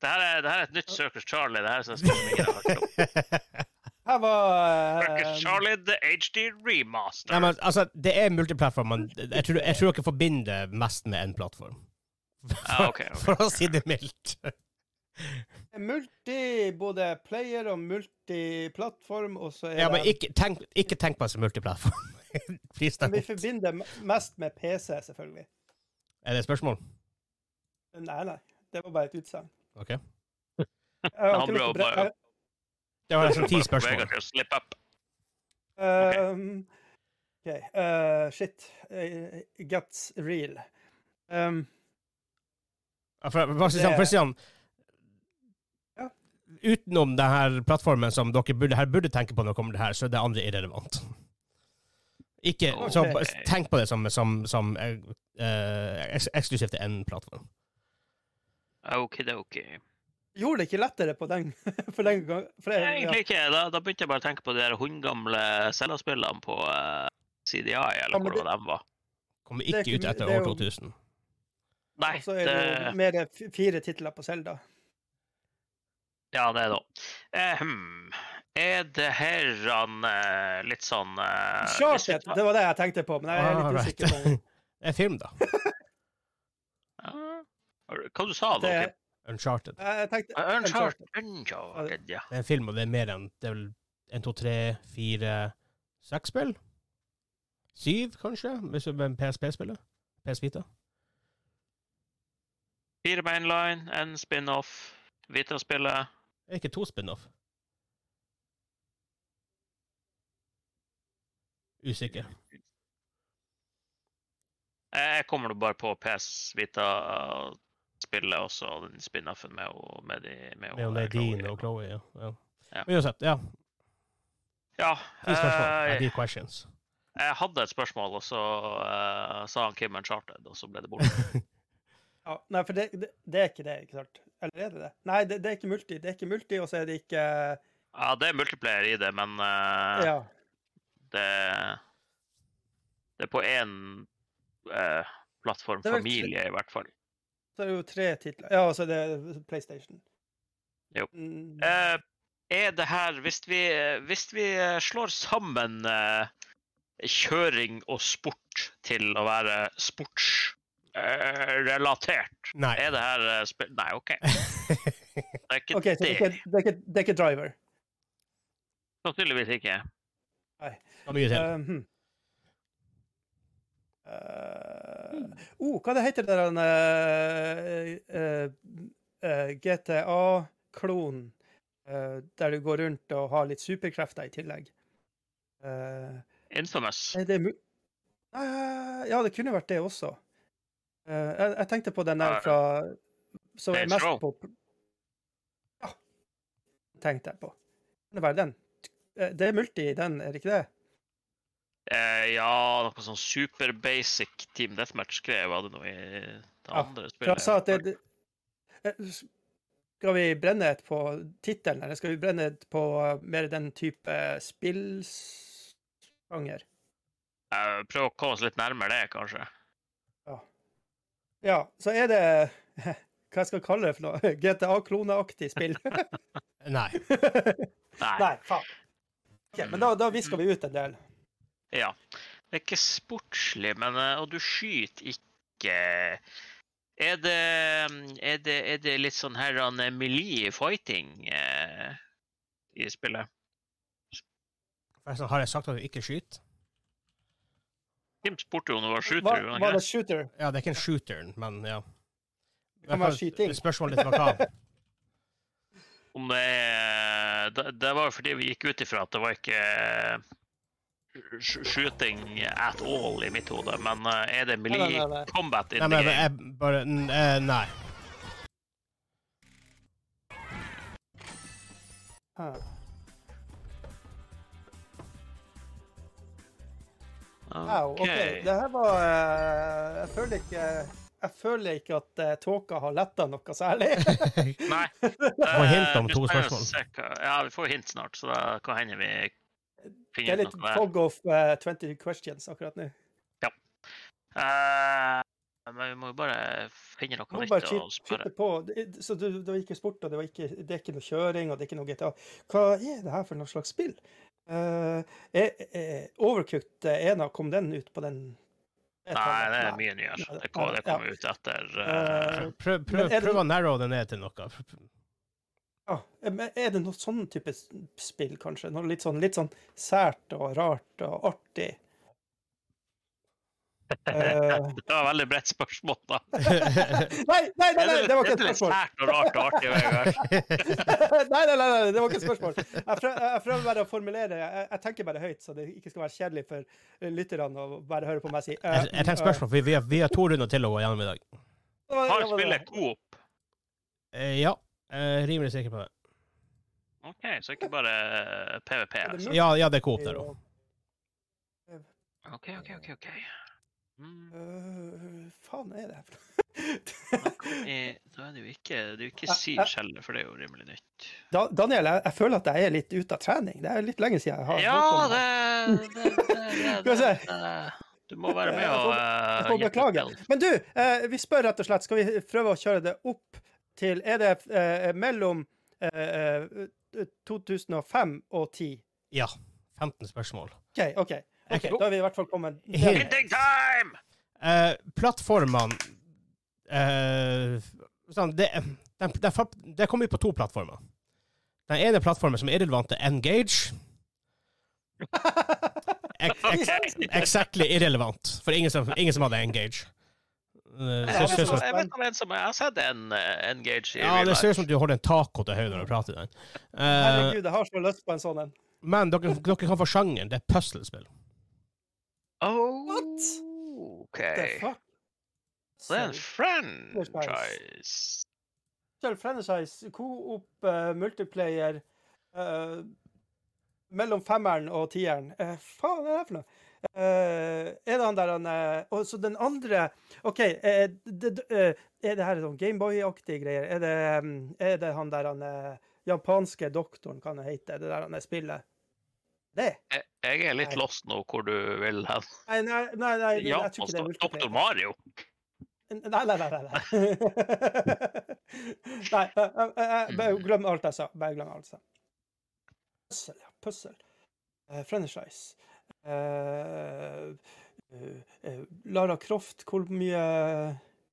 Speaker 3: Det her er, det her er et nytt Circus Charlie. det her som jeg skal ingen har hørt om.
Speaker 2: Her var eh,
Speaker 3: Circus Charlie the HD remaster.
Speaker 1: Nei, men altså, det er multiplattform, men jeg tror, jeg tror dere forbinder det mest med én plattform.
Speaker 3: Ja, Ah, ok, ok.
Speaker 1: For å si det mildt.
Speaker 2: multi, både player og multiplattform, og så er
Speaker 1: Ja, men
Speaker 2: det
Speaker 1: ikke tenk, ikke tenk på det som multiplattform. Please, da.
Speaker 2: Men Vi forbinder m- mest med PC, selvfølgelig.
Speaker 1: Er det et spørsmål?
Speaker 2: Nei, nei. Det var bare et utsagn.
Speaker 1: OK.
Speaker 2: Jeg har
Speaker 3: Han
Speaker 2: ikke
Speaker 3: ble
Speaker 2: lyst til å
Speaker 3: bare-
Speaker 2: bre- jeg-
Speaker 1: Det var nesten ti
Speaker 3: Bare for
Speaker 1: spørsmål.
Speaker 3: Vegard til å slippe opp.
Speaker 2: Um, OK. Uh, shit. Uh, guts real. Um,
Speaker 1: Ja, For, for, å si sånn- for å si sånn
Speaker 2: Ja.
Speaker 1: Utenom den her plattformen som dere burde, her burde tenke på når det kommer til det her, så er det andre irrelevant. Ikke, så,
Speaker 2: Ok.
Speaker 1: bare tenk på det som, som, som eh, eh, eks- eksklusivt til én plattform.
Speaker 3: Okidoki.
Speaker 2: gjorde det ikke lettere på den for den gang? For det,
Speaker 3: Nei,
Speaker 2: ja,
Speaker 3: Egentlig ikke. Da, da begynte jeg bare å tenke på de der hundgamle Zelda-spillene på eh, CDI,
Speaker 2: Ja,
Speaker 3: eller
Speaker 2: men
Speaker 3: hvor det...
Speaker 2: det-
Speaker 3: de var.
Speaker 1: Kommer
Speaker 2: Det er
Speaker 1: ikke
Speaker 2: ikke
Speaker 1: ut
Speaker 2: mye-
Speaker 1: etter
Speaker 2: det er
Speaker 1: år
Speaker 2: jo-
Speaker 1: 2000.
Speaker 3: Nei,
Speaker 2: og så er det jo
Speaker 3: det,
Speaker 2: mer f- fire titler på Selda.
Speaker 3: ja, det er det òg. er det herran eh, litt sånn eh, hvis vi
Speaker 2: Charted,
Speaker 3: tar-
Speaker 2: det var det jeg tenkte på, men jeg er
Speaker 1: Ah,
Speaker 2: litt
Speaker 1: right.
Speaker 2: usikker på
Speaker 1: Det er film, da.
Speaker 3: Ja. Hva du sa du?
Speaker 2: det.
Speaker 3: Okay.
Speaker 1: Uncharted.
Speaker 2: Jeg tenkte
Speaker 3: Uncharted.
Speaker 2: Uncharted.
Speaker 3: Uncharted, ja.
Speaker 1: Det er en film, og det er mer enn det er vel en, to, tre, fire, seks spill? Syv, kanskje? Hvis du med PSP-spillet? PS Vita?
Speaker 3: Fire mainline, en spin-off, Vita-spillet.
Speaker 1: Er det ikke to spin-off? Usikker.
Speaker 3: Eh, Jeg kommer nå bare på PS Vita-spillet eh, også, og den spin-offen med, ho- med, de, med,
Speaker 1: Det er jo
Speaker 3: ho-
Speaker 1: Nadine
Speaker 3: Chloe.
Speaker 1: og Chloé, ja. ja.
Speaker 3: Ja.
Speaker 1: Men uansett, ja.
Speaker 3: Ja.
Speaker 1: Ti spørsmål.
Speaker 3: eh,
Speaker 1: I need questions.
Speaker 3: Jeg hadde et spørsmål, og så eh, sa han Kim Uncharted, og så ble det borte.
Speaker 2: Ja, nei, for det, det, det er ikke det, ikke sant? Eller er det det? Nei, det, det er ikke multi. Det er ikke multi, og så er det ikke
Speaker 3: ja, det er multiplayer i det, men eh,
Speaker 2: Ja.
Speaker 3: det, det er på én eh, plattform.
Speaker 2: Det er vel-
Speaker 3: Familie, i hvert fall.
Speaker 2: Så er det jo tre titler. Ja, og så er det PlayStation.
Speaker 3: Jo.
Speaker 2: Mm,
Speaker 3: Eh, er det her Hvis vi, hvis vi eh, slår sammen eh, kjøring og sport til å være sports eh, relatert.
Speaker 1: Nei.
Speaker 3: Er det her eh, sp- Nei, OK. Det er ikke
Speaker 2: OK, så det er ikke,
Speaker 3: det.
Speaker 2: det er ikke, det er ikke driver.
Speaker 3: Sannsynligvis ikke.
Speaker 1: Skal mye til.
Speaker 2: Eh, hm. Eh, oh, hva det heter det der eh, eh, eh, GTA-klonen eh, der du går rundt og har litt superkrefter i tillegg? Eh,
Speaker 3: Infamous.
Speaker 2: nei, det er mu... Eh, ja, det kunne vært det også. Eh, jeg, jeg tenkte på den der
Speaker 3: Ja.
Speaker 2: fra Som er
Speaker 3: Saints
Speaker 2: mest
Speaker 3: Row.
Speaker 2: på Ja, tenkte jeg på. Kan det være den? Eh, Det er multi i den, er det ikke det?
Speaker 3: Eh, ja, noe sånn super basic Team Deathmatch-greier var det nå i det
Speaker 2: Ja,
Speaker 3: andre
Speaker 2: For
Speaker 3: spillet.
Speaker 2: jeg sa at det, det eh, s- Skal vi brenne et på tittelen, eller skal vi brenne et på eh, mer den type eh, spillsjanger?
Speaker 3: Eh, prøv å komme oss litt nærmere det, kanskje.
Speaker 2: Ja, så er det Hva jeg skal kalle det for noe? GTA-kloneaktig spill?
Speaker 1: Nei.
Speaker 3: Nei.
Speaker 2: Nei, faen. Ok, men da, da visker vi ut en del.
Speaker 3: Ja. Det er ikke sportslig, men eh, Og du skyter ikke Er det, er det, er det litt sånn her han, eh, melee fighting eh, i spillet?
Speaker 1: Forresten, har jeg sagt at du ikke skyter?
Speaker 3: Team Sporto når du var
Speaker 2: Hva,
Speaker 3: shooter, var
Speaker 2: var
Speaker 3: det
Speaker 2: det shooter?
Speaker 1: Ja, det er ikke en shooter, men ja. Det
Speaker 2: kan være skyting.
Speaker 1: Spørsmålet litt makabert.
Speaker 3: ikke? Om det er Det, det var jo fordi vi gikk ut ifra at det var ikke eh, sh- shooting at all i mitt hode, men eh, er det
Speaker 2: nei,
Speaker 3: melee
Speaker 2: nei, nei.
Speaker 3: combat in
Speaker 1: Nei, men
Speaker 3: the game?
Speaker 1: jeg bare n- eh, Nei.
Speaker 2: Hæ. Wow, ok.
Speaker 3: Ok.
Speaker 2: Det her var eh, Jeg føler ikke jeg føler ikke at eh, tåka har letta noe særlig.
Speaker 3: Nei.
Speaker 1: får hint om
Speaker 3: Eh, vi
Speaker 1: to
Speaker 3: skal jo
Speaker 1: spørsmål.
Speaker 3: se hva- Ja, vi får hint snart, så da kan hende vi
Speaker 2: Det
Speaker 3: finner
Speaker 2: er
Speaker 3: ut
Speaker 2: litt
Speaker 3: noe der.
Speaker 2: fog of eh, 20 questions akkurat nå.
Speaker 3: Eh, men vi må jo bare finne noe
Speaker 2: Du må
Speaker 3: nytt
Speaker 2: bare
Speaker 3: å
Speaker 2: skyte
Speaker 3: spørre.
Speaker 2: skyte på. Det- Så du, det var ikke sport, og det, var ikke, det er ikke noe kjøring, og det er ikke noe GTA. Hva er det her for noe slags spill? Uh, er, er Overcooked eh, ena, kom den ut på den?
Speaker 3: Nei, det er mye nyere. Det kom- det kommer ut etter eh,
Speaker 2: Eh,
Speaker 1: Prøv,
Speaker 2: Men
Speaker 1: prøv,
Speaker 2: er det-
Speaker 1: prøv å narrow det ned til noe.
Speaker 2: Ja, men er det noe sånn type s- spill, kanskje? Noe litt sånn, litt sånn sært og rart og artig? Eh,
Speaker 3: Det var et veldig bredt spørsmål, da.
Speaker 2: nei, nei, nei,
Speaker 3: Er
Speaker 2: nei, det var ikke
Speaker 3: er
Speaker 2: et
Speaker 3: litt
Speaker 2: spørsmål!
Speaker 3: sært og rart og artig, Vegard?
Speaker 2: Nei, nei, nei, nei, det var ikke et spørsmål. Jeg prø- jeg prøver bare å formulere jeg, jeg tenker bare høyt, så det ikke skal være kjedelig for eh, lytterne å bare høre på meg si eh,
Speaker 1: Jeg, jeg tenker spørsmål, for vi har, vi har to runder til å gå gjennom i dag.
Speaker 2: eh, hva-
Speaker 3: Har
Speaker 2: hva var
Speaker 3: spillet
Speaker 2: det?
Speaker 3: Coop?
Speaker 1: Eh, Ja, jeg er rimelig sikker på det.
Speaker 3: OK, så ikke bare eh, PVP,
Speaker 2: Er det
Speaker 3: altså.
Speaker 2: mulig?
Speaker 1: Ja, ja det er Coop der òg.
Speaker 3: OK, OK, OK. ok. Mm,
Speaker 2: Eh, faen er det her for noe?
Speaker 3: eh, Da er det jo ikke Det er jo ikke
Speaker 2: Ja, ja.
Speaker 3: Siege heller, for det er jo rimelig nytt.
Speaker 2: Da, Daniel, jeg, jeg føler at jeg er litt ute av trening. Det er litt lenge siden jeg har
Speaker 3: Ja,
Speaker 2: holdt på med
Speaker 3: det, det, det,
Speaker 2: Skal vi
Speaker 3: det,
Speaker 2: se.
Speaker 3: det Du må være med
Speaker 2: Jeg
Speaker 3: og
Speaker 2: får- Jeg
Speaker 3: uh,
Speaker 2: får beklage. Men du, eh, vi spør rett og slett, skal vi prøve å kjøre det opp til Er det eh, mellom eh, eh, 2005 og 10?
Speaker 1: Ja. 15 spørsmål.
Speaker 2: OK, OK. Ok, Da er vi i hvert fall kommet
Speaker 1: Helt-
Speaker 3: Hinting time!
Speaker 1: Eh, Plattformene eh, sånn, det, de, de, de, de kommer jo på to plattformer. Den ene plattformen som er irrelevant, er Engage. Ek- ek- Exactly irrelevant, for ingen som, ingen som hadde Engage. Eh,
Speaker 3: Jeg
Speaker 1: så-
Speaker 3: vet
Speaker 1: så- så-
Speaker 3: om- jeg vet om en som jeg har sett en eh, Engage i
Speaker 1: Ja,
Speaker 3: real
Speaker 1: det ser ut
Speaker 3: life.
Speaker 1: som du holder en taco til høyre når du prater i den. Eh,
Speaker 2: Herregud, jeg har så lyst på en sånn en.
Speaker 1: men dere, dere kan få sjangeren. Det er puslespill.
Speaker 3: Oh,
Speaker 2: What?
Speaker 3: OK.
Speaker 2: The fuck?
Speaker 3: Så det
Speaker 2: Sånn.
Speaker 3: er en franchise.
Speaker 2: Selv franchise, co-op, eh, multiplayer eh, Mellom femmeren og tieren. Eh, faen, hva er det for noe? Eh, er det han der han eh, Og så den andre OK, eh, det, det- eh, er det her sånn Gameboy-aktige greier? Er det, mm, er det han der han eh, japanske doktoren, kan det hete? Det der han er spillet? Det?
Speaker 3: Jeg- Jeg er litt
Speaker 2: Nei.
Speaker 3: lost nå hvor du vil hen.
Speaker 2: Nei, nei, nei, nei jeg,
Speaker 3: Ja, altså,
Speaker 2: tror ikke det er
Speaker 3: Doktor
Speaker 2: multiplayer.
Speaker 3: Mario.
Speaker 2: Nei, nei, nei. Nei, nei. nei eh, eh, eh,
Speaker 1: Mm.
Speaker 2: bare glem alt jeg sa. Bare glem alt jeg sa. Puzzle, ja. Puzzle. Eh, franchise. Eh, eh, eh, Lara Croft, hvor mye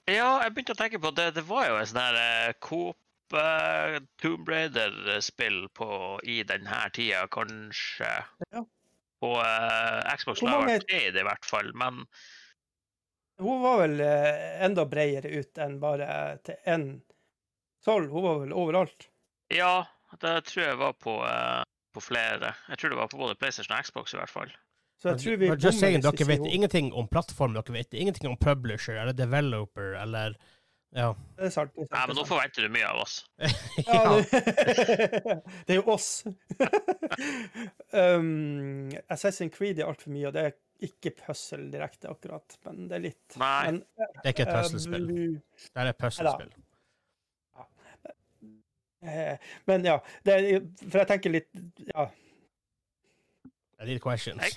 Speaker 3: Ja, jeg begynte å tenke på det. Det var jo en sånn her eh, Coop eh, Tomb Raider-spill på- i denne tida, kanskje.
Speaker 2: Ja.
Speaker 3: På eh, Xbox
Speaker 2: Hvor
Speaker 3: Live
Speaker 2: mange-
Speaker 3: Arcade i hvert fall. Men
Speaker 2: Hun var vel eh, enda bredere ut enn bare til én tolv. Hun var vel overalt.
Speaker 3: ja, det tror jeg var på, eh, på flere. Jeg tror det var på både PlayStation og Xbox i hvert fall.
Speaker 2: Så jeg tror vi
Speaker 1: But just saying,
Speaker 2: bommer hvis
Speaker 1: dere
Speaker 2: vi
Speaker 1: vet
Speaker 2: sier hun.
Speaker 1: ingenting om plattform, dere vet ingenting om publisher eller developer eller Ja.
Speaker 2: Det er sant. det er sant,
Speaker 3: Nei,
Speaker 2: det
Speaker 3: men
Speaker 2: er
Speaker 3: nå forventer du mye av oss.
Speaker 2: Ja,
Speaker 1: ja.
Speaker 2: det, det er jo oss. um, Assassin's Creed er altfor mye, og det er ikke puzzle direkte, akkurat. Men det er litt.
Speaker 3: Nei.
Speaker 2: Men,
Speaker 1: Det er ikke et puslespill.
Speaker 2: eh,
Speaker 1: Det er et puslespill.
Speaker 2: eh, men ja, det er, for jeg tenker litt Ja,
Speaker 1: I need questions.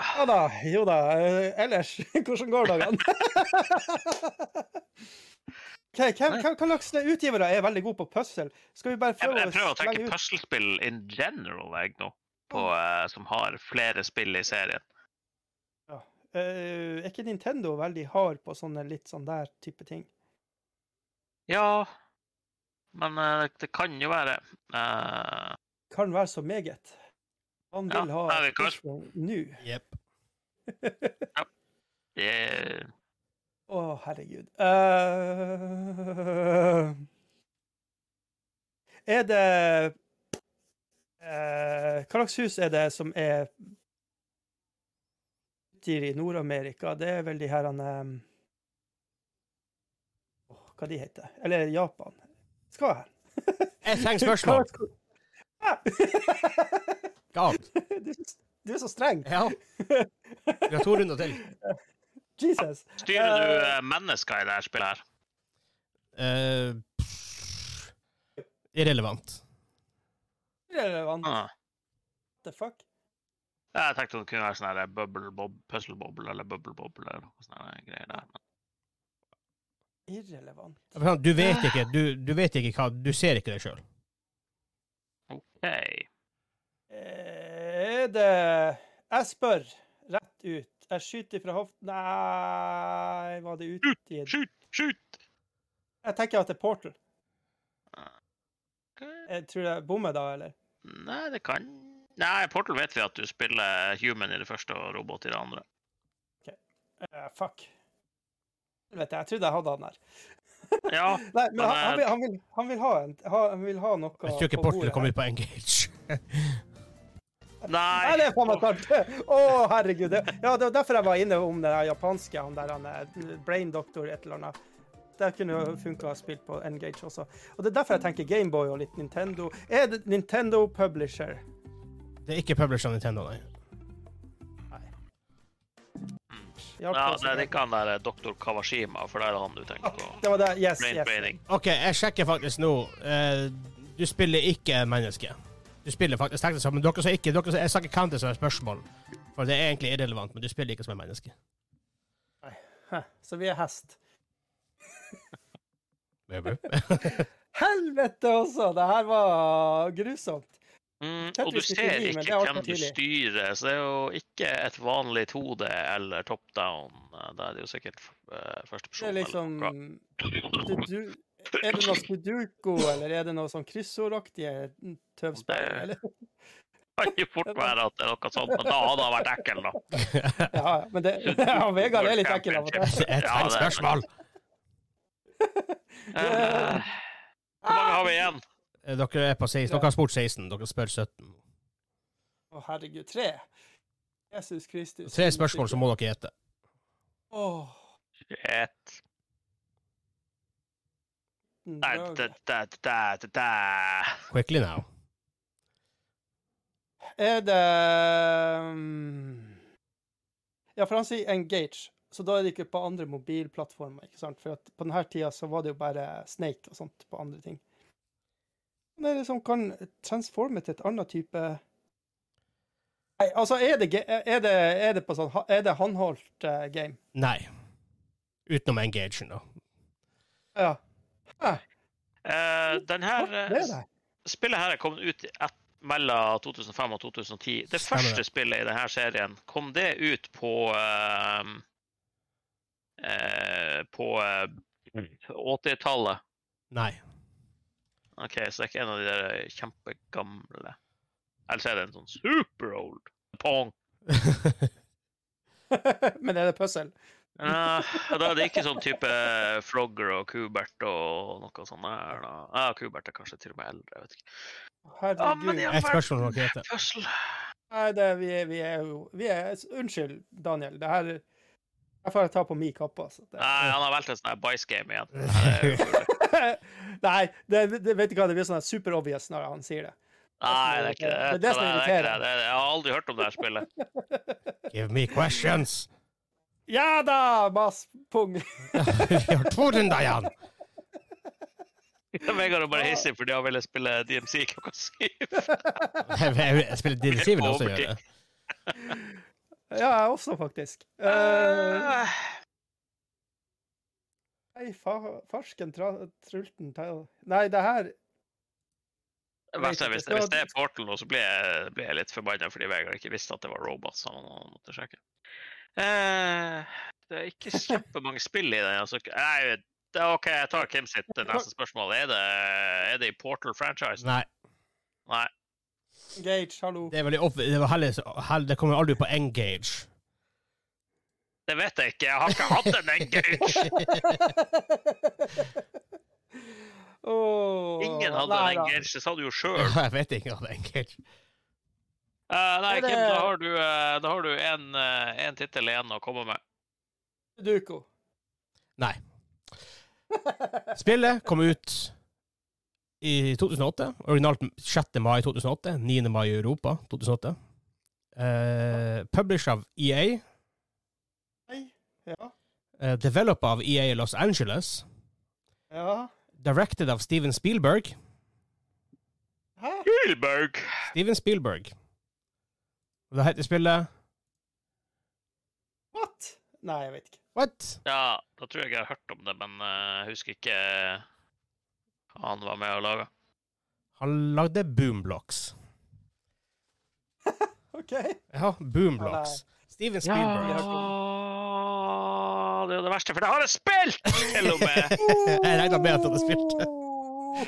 Speaker 2: ja da, jo da. eh, Ellers, hvordan går dagene? Ok, hvem, hvem, hva slags utgivere er veldig gode på puzzle? Skal vi bare
Speaker 3: Jeg,
Speaker 2: prøve
Speaker 3: jeg prøver å tenke
Speaker 2: slenge ut-
Speaker 3: puslespill in general, jeg nå. På, eh, som har flere spill i serien.
Speaker 2: Eh, Er ikke Nintendo veldig hard på sånne litt sånn der type ting?
Speaker 3: Ja, men eh, det kan jo være eh,
Speaker 2: kan være så meget. Han vil
Speaker 3: Ja,
Speaker 2: ha
Speaker 3: nei, vi kan-
Speaker 2: spørsmål nå.
Speaker 1: Yep.
Speaker 3: det-
Speaker 2: Å, herregud. Eh, er det eh, Hva slags hus er det som er utgir i Nord-Amerika? Det er vel de her han eh, åh, Hva de heter Eller Japan. Skal jeg her?
Speaker 1: Jeg trenger spørsmål! God.
Speaker 2: du, du er så streng.
Speaker 1: Ja. Vi har to runder til.
Speaker 2: Jesus.
Speaker 3: Styrer du eh, mennesker i dette spillet her?
Speaker 1: Eh, pff. irrelevant.
Speaker 2: Irrelevant.
Speaker 3: Ah.
Speaker 2: the fuck?
Speaker 3: Jeg tenkte det kunne være sånn her bubble bob, puzzle bobble eller bubble bobble eller noe sånne her greier der. Men
Speaker 2: Irrelevant.
Speaker 1: Du vet ikke, du, du vet ikke hva Du ser ikke deg sjøl.
Speaker 3: OK.
Speaker 2: Er Eh, det Jeg spør rett ut. Jeg skyter fra hofta Nei, var det ut i
Speaker 3: Skyt, skyt!
Speaker 2: Jeg tenker at det er Portal.
Speaker 3: Ok.
Speaker 2: Jeg tror jeg bommer da, eller?
Speaker 3: Nei, det kan Nei, Portal vet vi at du spiller human i det første og robot i det andre.
Speaker 2: Eh, fuck. Helvete, jeg trodde jeg hadde han der.
Speaker 3: Ja,
Speaker 2: Nei, men
Speaker 3: Men,
Speaker 2: han, han,
Speaker 3: eh,
Speaker 2: vil, han, vil, han vil ha en ha, Han vil ha noe
Speaker 1: Jeg tror ikke
Speaker 2: på
Speaker 1: Portal
Speaker 2: bordet
Speaker 1: kommer
Speaker 2: her.
Speaker 1: ut på Engage.
Speaker 3: nei
Speaker 2: Nei, det er faen meg sant! Å, herregud. det- Ja, det var derfor jeg var inne om den her japanske, han der han eh, Brain Doctor, et eller annet. Det kunne jo funka spilt på Engage også. Og det er derfor jeg tenker Gameboy og litt Nintendo. Er det Nintendo Publisher?
Speaker 1: Det er ikke published av Nintendo, nei.
Speaker 2: Hjalp
Speaker 3: Ja,
Speaker 2: oss
Speaker 3: nei, det er
Speaker 2: med.
Speaker 3: ikke han der eh, doktor Kawashima, for det er han du tenker på.
Speaker 2: Ah, Det var det. Yes.
Speaker 3: Brain
Speaker 2: yes.
Speaker 3: training.
Speaker 1: OK, jeg sjekker faktisk nå. Eh, du spiller ikke menneske. Du spiller faktisk teknisk sammen. Dere som ikke dere som, Jeg sa ikke Counter som et spørsmål, for det er egentlig irrelevant, men du spiller ikke som et menneske.
Speaker 2: Hæ, Så vi er hest. Helvete også! Det her var grusomt.
Speaker 3: Mm,
Speaker 2: Tetris
Speaker 3: og du
Speaker 2: fikk
Speaker 3: ser
Speaker 2: ni, men
Speaker 3: ikke
Speaker 2: det er alt for
Speaker 3: hvem du
Speaker 2: tidlig.
Speaker 3: styrer, så det er jo ikke et vanlig 2D eller top down. Da er det jo sikkert eh, første
Speaker 2: Det
Speaker 3: person.
Speaker 2: er liksom
Speaker 3: eller noe.
Speaker 2: Sudoku- Er det noe Sudoku, eller er det noe sånn kryssordaktige tøvspill?
Speaker 3: Det-
Speaker 2: eller?
Speaker 3: Det kan jo fort være at det er noe sånt, men da hadde han vært ekkel, da.
Speaker 2: Ja, ja, men det, ja, Vegard er litt ekkel av og til.
Speaker 1: Det er et
Speaker 3: Ja,
Speaker 1: feil
Speaker 3: det er-
Speaker 1: spørsmål!
Speaker 3: Eh, Hvor mange har vi igjen?
Speaker 1: Eh, Dere er på 16. Dere har spurt 16, dere spør 17.
Speaker 2: Å, herregud. Tre. Jesus Kristus.
Speaker 1: Tre spørsmål, så må dere gjette.
Speaker 2: Åh, Ah!
Speaker 3: Et.
Speaker 2: den
Speaker 3: Nei,
Speaker 2: drøge.
Speaker 3: det, det, det, det, det.
Speaker 1: Quickly now.
Speaker 2: Er det um, Ja, for han sier engage, så da er det ikke på andre mobilplattformer, ikke sant? For at på denne tida så var det jo bare Snake og sånt på andre ting. Hva er det som kan transforme til et annet type Nei, altså, er det, ge- er det, er det på sånn Er det håndholdt eh, game?
Speaker 1: Nei. Utenom Engage, da.
Speaker 2: Ja.
Speaker 3: Eh, den her,
Speaker 2: Det er det.
Speaker 3: eh, spillet her er kommet ut i- mellom 2005 og 2010. Det
Speaker 1: Stemmer
Speaker 3: første
Speaker 1: det.
Speaker 3: spillet i denne serien, kom det ut på eh, eh, På eh, 80-tallet?
Speaker 1: Nei.
Speaker 3: OK, så det er ikke en av de der kjempegamle. Eller så er det en sånn super old pong.
Speaker 2: Men er det puzzle?
Speaker 3: Nei, da er det ikke sånn type Frogger og Kubert og noe sånt der. Da. Ja, Kubert er kanskje til og med eldre, jeg vet ikke. Ja, men
Speaker 2: Herregud.
Speaker 3: ja.
Speaker 1: Et spørsmål om dere heter.
Speaker 3: Puzzle.
Speaker 2: Nei, det, vi, er- vi er jo vi er, Unnskyld, Daniel. Det her Jeg får ta på min kappe. Altså. Det,
Speaker 3: Nei, han har valgt en sånn her Bice Game igjen. Det her er jo-
Speaker 2: Nei, det, det, vet du hva, det blir sånn super obvious når han sier det.
Speaker 3: Nei, det er ikke det.
Speaker 2: Det er det som
Speaker 3: Nei,
Speaker 2: irriterer.
Speaker 3: ikke det. Det er- Jeg har aldri hørt om det her spillet.
Speaker 1: Give me questions!
Speaker 2: Ja da! Mas, pung.
Speaker 1: Vi har to runder igjen!
Speaker 3: Vegard er bare hissig fordi han ville spille DMC klokka syv.
Speaker 1: Jeg- Jeg jeg spiller DDC, vil også gjøre det.
Speaker 2: Ja, jeg også, faktisk. Eh,
Speaker 3: Eh,
Speaker 2: nei, fa, farsken tra, trulten ta, Nei, det her
Speaker 3: Hvis jeg- hvis det, hvis det er Portal nå, så blir jeg, blir jeg litt forbanna fordi Vegard ikke visste at det var robots han han måtte sjekke. Eh, det er ikke kjempemange spill i den. Altså. Nei, det er OK, jeg tar Kim sitt neste spørsmål. Er det, er det i Portal-franchisen?
Speaker 1: Nei.
Speaker 3: Nei.
Speaker 2: Gage, hallo.
Speaker 1: Det, er veldig opp, det, var heller, så- heller- det kommer aldri på engage.
Speaker 3: Det vet jeg ikke. Jeg har ikke hatt en engage.
Speaker 2: Åh,
Speaker 3: Ingen hadde
Speaker 2: nei
Speaker 3: en
Speaker 2: da.
Speaker 3: engage, det sa du jo sjøl.
Speaker 1: Jeg vet ikke om det er engage.
Speaker 3: Eh, nei,
Speaker 2: Er det-
Speaker 3: Kim, da har du, eh, da har du en, eh, en tittel igjen å komme med.
Speaker 2: Sudoku.
Speaker 1: Nei. Spillet kom ut i 2008. Originalt 6. mai 2008. 9. mai i Europa 2008. Uh, Published av EA.
Speaker 2: Nei. Ja.
Speaker 1: eh, developed av EA i Los Angeles.
Speaker 2: Ja.
Speaker 1: Directed av Steven Spielberg.
Speaker 2: Hæ?
Speaker 3: Spielberg!
Speaker 1: Steven Spielberg. Og da heter spillet
Speaker 2: What? Nei, jeg vet ikke.
Speaker 1: What?
Speaker 3: Ja, da tror jeg jeg har hørt om det, men eh, jeg husker ikke hva han var med og laga.
Speaker 1: Han lagde Boomblocks.
Speaker 2: OK.
Speaker 1: Ja,
Speaker 2: Ja,
Speaker 1: Boomblocks. Steven Spielberg.
Speaker 2: Ja.
Speaker 3: Det er jo det verste, for det har jeg spilt! Til og med.
Speaker 1: Jeg regna med at han hadde spilt det.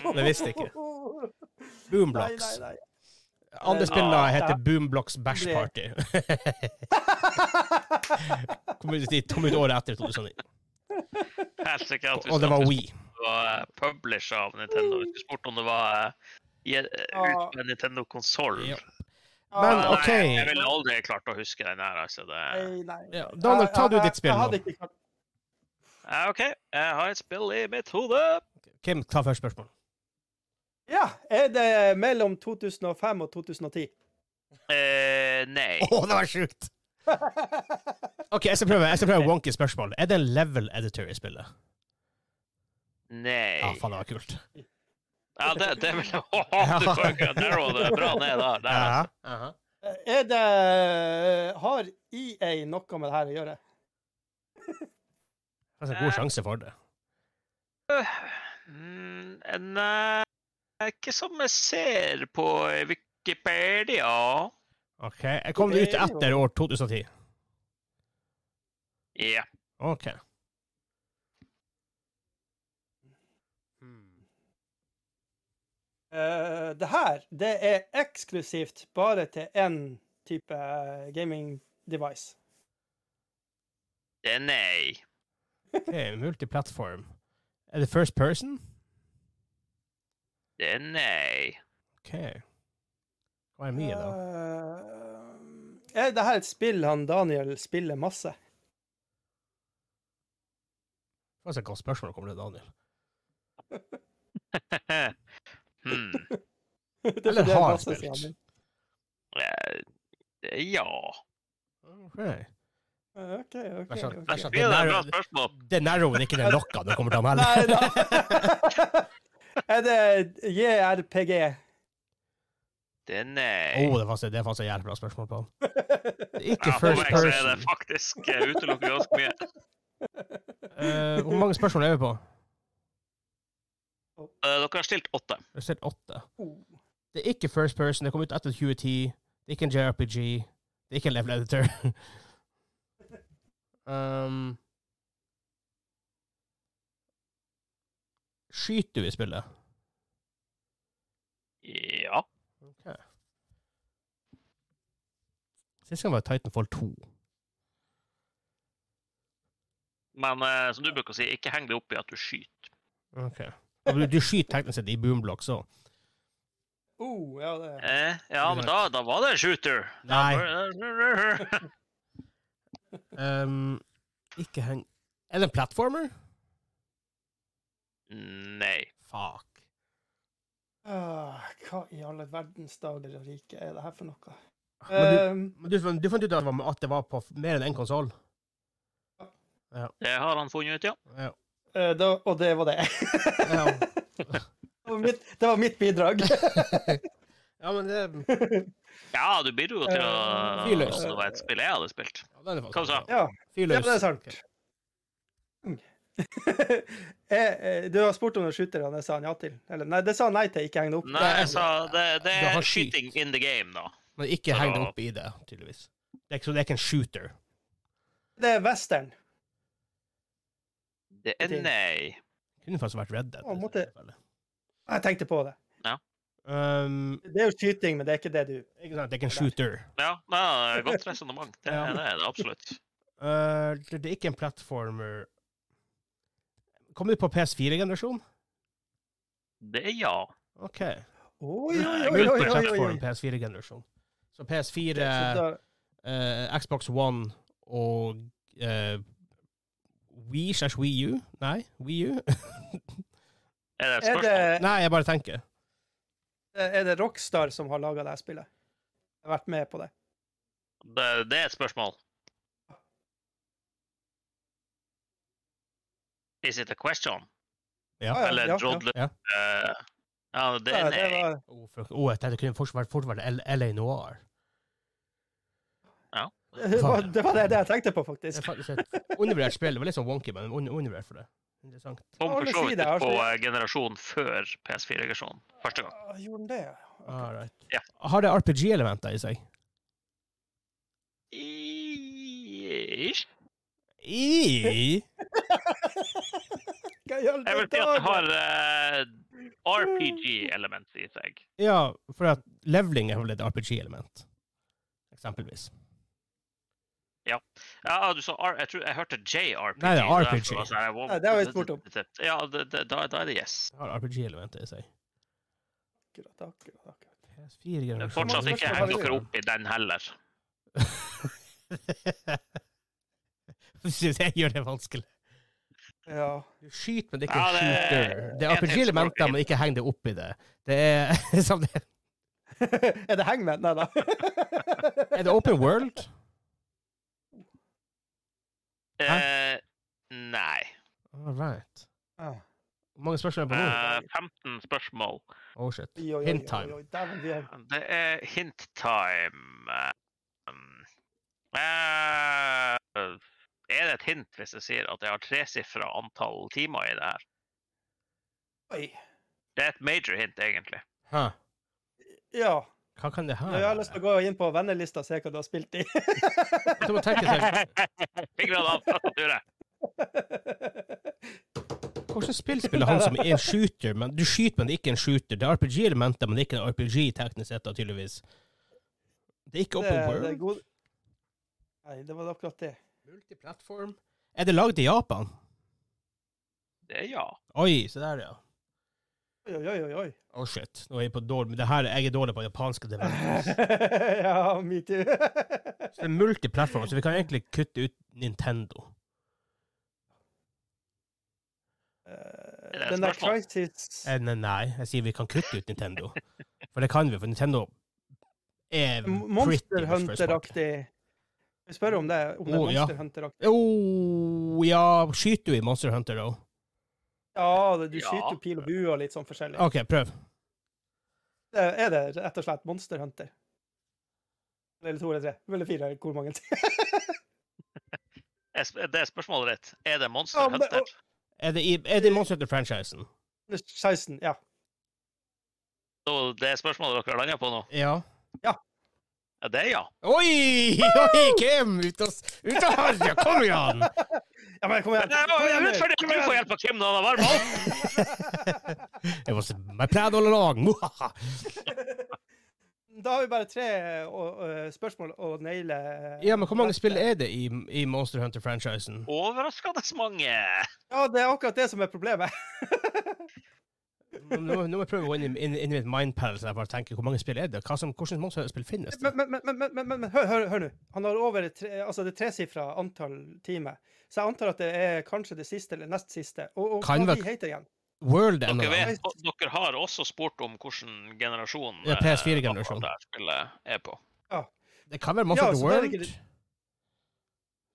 Speaker 1: Men jeg visste ikke.
Speaker 2: Nei,
Speaker 1: Boomblocks.
Speaker 2: nei, nei.
Speaker 1: Andre spillet
Speaker 3: Ah,
Speaker 1: heter
Speaker 2: ja.
Speaker 1: Boomblocks Bash
Speaker 2: Det-
Speaker 1: Party. Kom ut, de kom ut året etter 2009.
Speaker 3: Helt sikkert at
Speaker 1: Og det var We.
Speaker 3: det var eh, publisher av Nintendo. Hvis du spurte om det var eh, i- eh,
Speaker 2: Ja.
Speaker 3: ut på en Nintendo-konsoll
Speaker 1: Ja.
Speaker 2: Ah,
Speaker 1: Men,
Speaker 2: nei,
Speaker 1: ok.
Speaker 3: Jeg ville aldri klart å huske den her, altså. Det...
Speaker 2: Nei, nei.
Speaker 1: Ja, Daniel, ta du
Speaker 2: Jeg-
Speaker 1: ditt spill
Speaker 2: Jeg hadde
Speaker 1: nå.
Speaker 2: ikke klart
Speaker 3: Ja, eh, OK, jeg har et spill i mitt hode.
Speaker 1: Kim, ta første spørsmål.
Speaker 2: Ja, er det mellom 2005 og 2010?
Speaker 3: Eh, nei.
Speaker 1: Å, det var sjukt! OK, jeg skal prøve Jeg skal prøve wonky spørsmål. Er det en level editor i spillet?
Speaker 3: Nei.
Speaker 1: Ja, faen, det var kult.
Speaker 3: Ja, det, det vil jeg Åh, Du fucka narrow det bra ned der. der altså.
Speaker 1: Ja.
Speaker 2: Er det Har EA noe med det her å gjøre?
Speaker 1: Det er en
Speaker 3: Eh.
Speaker 1: god sjanse for det.
Speaker 3: Mm, Nei, ikke som jeg ser på Wikipedia.
Speaker 1: OK. Jeg kom ut etter år 2010.
Speaker 3: Ja.
Speaker 1: OK.
Speaker 2: Eh, det her, det er eksklusivt bare til én type eh, gaming device.
Speaker 3: Det er nei.
Speaker 1: Ok, Multiplattform. Er det first person?
Speaker 3: Det er nei.
Speaker 1: OK. Hva er mye, da?
Speaker 2: Eh, er det her et spill han Daniel spiller masse?
Speaker 1: Det var så et godt spørsmål kommer det, Daniel.
Speaker 3: hmm.
Speaker 2: Det er
Speaker 1: Eller
Speaker 2: fordi det er
Speaker 1: har
Speaker 2: masse,
Speaker 1: spilt.
Speaker 2: sier han.
Speaker 3: Eh, Ja.
Speaker 1: Okay.
Speaker 2: Eh, OK, OK.
Speaker 1: Vær så-
Speaker 2: ok.
Speaker 1: vær så-
Speaker 3: Det er et bra spørsmål.
Speaker 1: Den narrowen ikke den lokka når det kommer til ham
Speaker 2: Nei
Speaker 1: heller.
Speaker 2: da. er det JRPG?
Speaker 3: Det er nei.
Speaker 1: Å, det fanns det fanns et jævlig bra spørsmål på ham. Oh, Ikke
Speaker 3: Ja, for
Speaker 1: first
Speaker 3: meg så er det
Speaker 1: person.
Speaker 3: faktisk eh, utelukker ganske mye.
Speaker 1: Eh, hvor mange spørsmål er vi på?
Speaker 3: Eh, Dere har stilt åtte.
Speaker 1: Vi har stilt åtte.
Speaker 2: Oh.
Speaker 1: Det er ikke first person. Det kom ut etter 2010. Det er ikke en JRPG. Det er ikke en level editor. um, skyter du i spillet?
Speaker 3: Ja.
Speaker 1: Okay. Sist gang var Titanfall 2.
Speaker 3: Men eh, som du bruker å si, ikke heng det opp i at du skyter.
Speaker 1: Ok. Og Du, du skyter teknisk sett i boomblocks òg.
Speaker 2: Oh, ja, det
Speaker 3: Eh, ja, men da, da var det en shooter.
Speaker 1: Nei.
Speaker 3: Nei.
Speaker 1: Um, ikke heng Er det en platformer?
Speaker 3: Nei.
Speaker 1: Fuck.
Speaker 2: ah, Hva i alle verdens dager og rike er det her for noe?
Speaker 1: Ah, Men du,
Speaker 2: Ehm,
Speaker 1: men du, fant- du fant ut at det var- at det var på mer enn én konsoll?
Speaker 3: Det har han funnet ut, ja.
Speaker 1: Ja.
Speaker 2: eh, da, og det var det.
Speaker 1: Ja.
Speaker 2: Det var mitt, det var mitt bidrag.
Speaker 1: ja, men det
Speaker 3: Ja, du blir jo til å
Speaker 2: Eh,
Speaker 1: fyrløs.
Speaker 3: Det var et spill jeg hadde spilt.
Speaker 1: ja, den er faktisk
Speaker 3: Hva sa?
Speaker 1: bra.
Speaker 2: Ja,
Speaker 1: Fyr
Speaker 2: ja
Speaker 1: løs.
Speaker 2: det er sant. Eh, eh, du har spurt om noen skytere, og det sa han ja til. Eller nei, det sa han nei til. Ikke heng det opp.
Speaker 3: Nei, jeg sa det, det
Speaker 1: Du har
Speaker 3: er
Speaker 1: skyt.
Speaker 3: skyting in the game, da.
Speaker 1: Men ikke
Speaker 3: Så
Speaker 1: heng deg
Speaker 3: da-
Speaker 1: opp i det, tydeligvis. Det er ikke, så det er ikke en shooter.
Speaker 2: Det er western.
Speaker 3: Det er
Speaker 2: Ok.
Speaker 3: Eh, nei.
Speaker 1: Kunne faktisk vært Red Dead. i
Speaker 2: Å, måtte-
Speaker 1: tilfelle.
Speaker 2: Jeg tenkte på det.
Speaker 1: Um,
Speaker 2: Det er jo skyting, men det er ikke det du
Speaker 1: ikke sant, det er ikke en shooter.
Speaker 3: Ja, nei, godt resonnement. Det,
Speaker 1: Ja.
Speaker 3: det er det absolutt.
Speaker 1: Uh, det det er ikke en platformer. Kom du på PS4-generasjon?
Speaker 3: Det er ja.
Speaker 1: OK.
Speaker 2: Oi, oi,
Speaker 3: Nei,
Speaker 2: oi, oi, oi, oi,
Speaker 1: Platform
Speaker 2: oi.
Speaker 1: PS4-generasjon. Så
Speaker 2: Så
Speaker 1: PS4,
Speaker 2: da-
Speaker 1: eh, Xbox One og uh, Wii slash Wii U? Nei, Wii U?
Speaker 3: Er det et
Speaker 2: Er det,
Speaker 3: spørsmål?
Speaker 1: Nei, jeg bare tenker.
Speaker 2: er det Rockstar som har laga det her spillet? Jeg har vært med på det.
Speaker 3: Det, det er et spørsmål. Is it a question?
Speaker 1: Ja.
Speaker 2: Ah,
Speaker 3: Eller drodler?
Speaker 1: Ja.
Speaker 3: eh, Ja, det
Speaker 2: Ja,
Speaker 3: er
Speaker 2: det
Speaker 3: nei.
Speaker 2: var,
Speaker 1: Å, Oh, fuck. Å, jeg tenkte det kunne fort vært, fort vært L- LA Noir.
Speaker 2: det, var, det var det det jeg tenkte på, faktisk.
Speaker 1: Det er faktisk et undervurdert spill. Det var litt sånn wonky, men un- undervurdert for det. Interessant.
Speaker 2: Ja,
Speaker 3: Kom for
Speaker 2: men
Speaker 3: så
Speaker 2: si
Speaker 3: vidt
Speaker 2: det,
Speaker 3: ut på
Speaker 2: altså.
Speaker 3: eh, generasjon før PS4-generasjonen. Første gang.
Speaker 2: Ah, Gjorde den det? ja?
Speaker 1: All right.
Speaker 3: Ja.
Speaker 1: Har det RPG-elementer i seg?
Speaker 3: I- Ish.
Speaker 1: I
Speaker 2: Hva i alle
Speaker 3: Jeg vil si at det
Speaker 2: dager?
Speaker 3: har eh,
Speaker 2: Mm.
Speaker 3: RPG-element i seg.
Speaker 1: Ja, for at leveling er vel et RPG-element. Eksempelvis.
Speaker 3: Ja, ah, du sa R, jeg, tror, jeg hørte JRPG.
Speaker 1: Nei, det er
Speaker 3: så derfor
Speaker 1: RPG.
Speaker 3: var jeg sånn her, wow,
Speaker 2: Nei, det har vi spurt om.
Speaker 3: Ja, det, det, da, da er det yes.
Speaker 1: Det Har RPG-elementer i seg.
Speaker 2: Akkurat, akkurat, akkurat.
Speaker 1: PS4
Speaker 3: Men
Speaker 1: generasjon.
Speaker 3: Fortsatt ikke
Speaker 2: Spørsmål
Speaker 3: heng
Speaker 2: bare-
Speaker 3: dere opp i den heller.
Speaker 1: Synes jeg gjør det vanskelig.
Speaker 2: Ja.
Speaker 1: Du skyter, men det er ikke
Speaker 3: Ja,
Speaker 1: en
Speaker 3: det er-
Speaker 1: shooter. Det er
Speaker 3: jeg tenker
Speaker 1: RPG-elementer,
Speaker 3: på-
Speaker 1: men ikke heng det opp i det. Det er som det
Speaker 2: er det hangman? Nei da.
Speaker 1: Er det open world?
Speaker 3: Eh, nei.
Speaker 1: All right.
Speaker 2: Ah.
Speaker 1: Hvor mange spørsmål er på nå?
Speaker 3: Eh, 15 spørsmål.
Speaker 1: Oh shit.
Speaker 2: Oi, oi, oi,
Speaker 1: Hint
Speaker 2: oi,
Speaker 1: time.
Speaker 2: oi, dæven, vi har-
Speaker 3: Det er hint time. Um, eh, er det et hint hvis jeg sier at jeg har tresifra antall timer i det her?
Speaker 2: Oi.
Speaker 3: Det er et major hint, egentlig.
Speaker 1: Hæ?
Speaker 2: Ja.
Speaker 1: Hva kan det her
Speaker 2: Jeg har lyst til å gå inn på vennelista og se hva du har spilt i.
Speaker 1: Du må tenke seg,
Speaker 3: Fikk du det av Ture?
Speaker 1: Hvordan spill spiller han som er en shooter, men du skyter, men det er ikke en shooter? Det er RPG-elementer, men det er ikke en RPG teknisk sett, da, tydeligvis. Det er ikke
Speaker 2: Det,
Speaker 1: open
Speaker 2: det er
Speaker 1: world?
Speaker 2: god... Nei, det var akkurat det.
Speaker 1: Multiplattform? Er det lagd i Japan?
Speaker 3: Det er ja.
Speaker 1: Oi, se der, ja.
Speaker 2: Oi, oi, oi, oi.
Speaker 1: Oh shit. Nå er jeg på dårlig men det her, jeg er dårlig på japanske developers.
Speaker 2: ja, me too.
Speaker 1: Så Det er multiplattform, så vi kan egentlig kutte ut Nintendo.
Speaker 2: Eh,
Speaker 3: et
Speaker 2: Den der
Speaker 3: spørsmål?
Speaker 2: Crisis
Speaker 1: Eh, Nei, nei, jeg sier vi kan kutte ut Nintendo. For det kan vi, for Nintendo er
Speaker 2: Monster
Speaker 1: pretty much first party.
Speaker 2: Hunter-aktig Vi spør om det om det
Speaker 1: Å,
Speaker 2: er
Speaker 1: ja.
Speaker 2: Monster Hunter-aktig.
Speaker 1: Jo, ja, skyter du i Monster Hunter, da?
Speaker 2: Ja, det- du
Speaker 3: Ja.
Speaker 2: skyter jo pil og bue og litt sånn forskjellig.
Speaker 1: OK, prøv.
Speaker 2: Det Er det rett og slett Monster Hunter? Eller to eller tre? Eller fire? eller Hvor mange?
Speaker 3: Er sp- Det er spørsmålet ditt. Er det Monster
Speaker 2: Ja, men det-
Speaker 3: Hunter?
Speaker 1: Er det i, er det i Monster Hunter-franchisen?
Speaker 2: Eller 16, ja.
Speaker 3: Så det er spørsmålet dere har landa på nå?
Speaker 1: Ja.
Speaker 3: Ja, det er ja.
Speaker 1: Oi! Oi, Kim! Ut av, ut av harja! Kom igjen!
Speaker 2: Ja, men kom igjen.
Speaker 3: Det
Speaker 2: Kom
Speaker 3: er
Speaker 2: igjen,
Speaker 3: jo
Speaker 2: nå.
Speaker 3: rettferdig at du får hjelp av Kim når han har varma opp!
Speaker 1: It was my plan all along! Muhaha.
Speaker 2: Da har vi bare tre å- å, spørsmål å naile.
Speaker 1: Ja, men hvor mange spill er det i, i Monster Hunter-franchisen?
Speaker 3: Overraskende mange!
Speaker 2: Ja, det er akkurat det som er problemet.
Speaker 1: Nå, må- nå må jeg prøve å gå inn, i- inn, inn i mitt mindpal så jeg bare tenker hvor mange spill er det? Hva som, hvordan Monster Hunter-spill finnes det?
Speaker 2: Men, men, men, men, men, men, men hør, hør, hør nå. Han har over et tre, altså det tresifra antall timer. Så jeg antar at det er kanskje det siste eller nest siste. Og, og
Speaker 1: Kan
Speaker 2: hva
Speaker 1: vel-
Speaker 2: de heter igjen?
Speaker 1: World ennå?
Speaker 3: Dere, vet, og dere har også spurt om hvilken generasjon
Speaker 1: Ja, PS4-generasjon.
Speaker 3: eh, dette spillet er på.
Speaker 1: Det kan være Monster
Speaker 2: Ja,
Speaker 1: Hunter
Speaker 2: så det er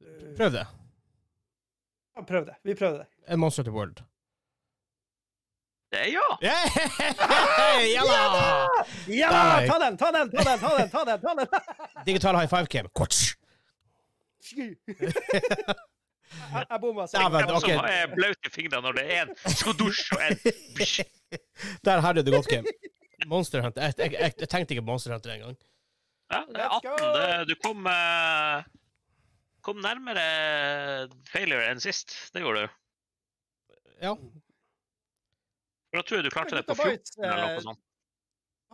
Speaker 1: World? Prøv det.
Speaker 2: Ja, prøv det. Vi prøvde det.
Speaker 1: Eh, Monster Hunter World.
Speaker 3: Det er Eh, ja!
Speaker 1: Yeah! Ja da!
Speaker 2: Ja da!
Speaker 1: Nei.
Speaker 2: Ta den, ta den, ta den! ta den, ta den, ta den.
Speaker 1: Digital high five, Kim. Quatsch.
Speaker 2: Sky. Jeg, jeg bomma. sorry.
Speaker 1: Ja, men-
Speaker 3: Hvem
Speaker 1: ok.
Speaker 3: som er blaut i fingrene når det er en skodusj og en bysj.
Speaker 1: Der hadde du det godt, Kim. Monster Hunter. Jeg, jeg, jeg, jeg tenkte ikke på Monster Hunter engang.
Speaker 3: Ja, det er
Speaker 2: Let's
Speaker 3: 18.
Speaker 2: go!
Speaker 3: Det, du kom, eh, kom nærmere failure enn sist. Det gjorde du.
Speaker 1: Ja.
Speaker 3: For Da tror jeg du klarte det på
Speaker 2: Megabytes,
Speaker 3: 14 eller
Speaker 2: eh,
Speaker 3: noe sånt.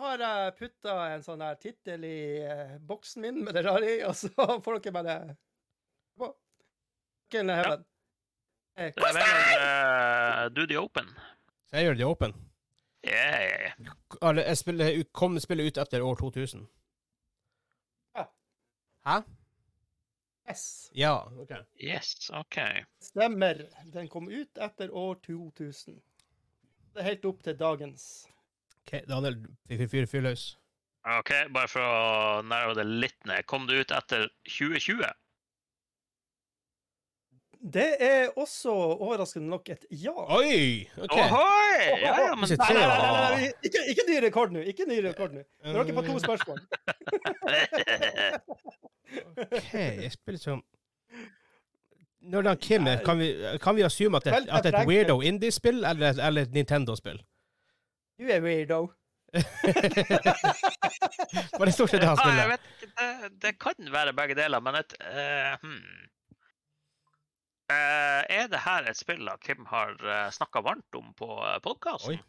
Speaker 2: Har jeg putta en sånn her tittel i eh, boksen min med det rare i, og så får dere bare Hva? Kill the heaven. Eh,
Speaker 3: Det er
Speaker 2: kos deg!
Speaker 3: vel eh, Do the Open.
Speaker 1: Så jeg gjør det åpen.
Speaker 3: Yeah, yeah, yeah.
Speaker 1: Eller, jeg spiller, ut- kom spillet ut etter år 2000.
Speaker 2: Yes.
Speaker 1: Ja, ok.
Speaker 3: Yes, OK.
Speaker 2: Stemmer. Den kom ut etter år 2000. Det er helt opp til dagens.
Speaker 1: Ok, Daniel, fyr, fyr, fyr, fyr løs.
Speaker 3: Ok, Bare for å narrow det litt ned. Kom det ut etter 2020?
Speaker 2: Det er også overraskende nok et ja.
Speaker 1: Oi! OK.
Speaker 3: Ohoi! Ja, ja, men
Speaker 1: Ikke
Speaker 2: Nei,
Speaker 1: tre,
Speaker 2: nei, nei,
Speaker 1: da.
Speaker 2: nei, nei. Ikke, ikke ny rekord nå. Ikke ny rekord nå. Nå
Speaker 1: Um,
Speaker 2: er dere på to spørsmål.
Speaker 1: OK, jeg spiller som Når det er Kim er, kan vi, kan vi assume at det
Speaker 2: Vel,
Speaker 1: at det er et
Speaker 2: jeg
Speaker 1: weirdo indie-spill eller, et- eller et Nintendo-spill?
Speaker 2: Du er weirdo.
Speaker 1: Var det stort sett det han
Speaker 3: Ja, Ah, jeg
Speaker 1: spiller?
Speaker 3: vet ikke. Det, det kan være begge deler, men et eh, hmm. Eh, Er det her et spill da Kim har uh, snakka varmt om på eh, podkasten?
Speaker 1: Oi.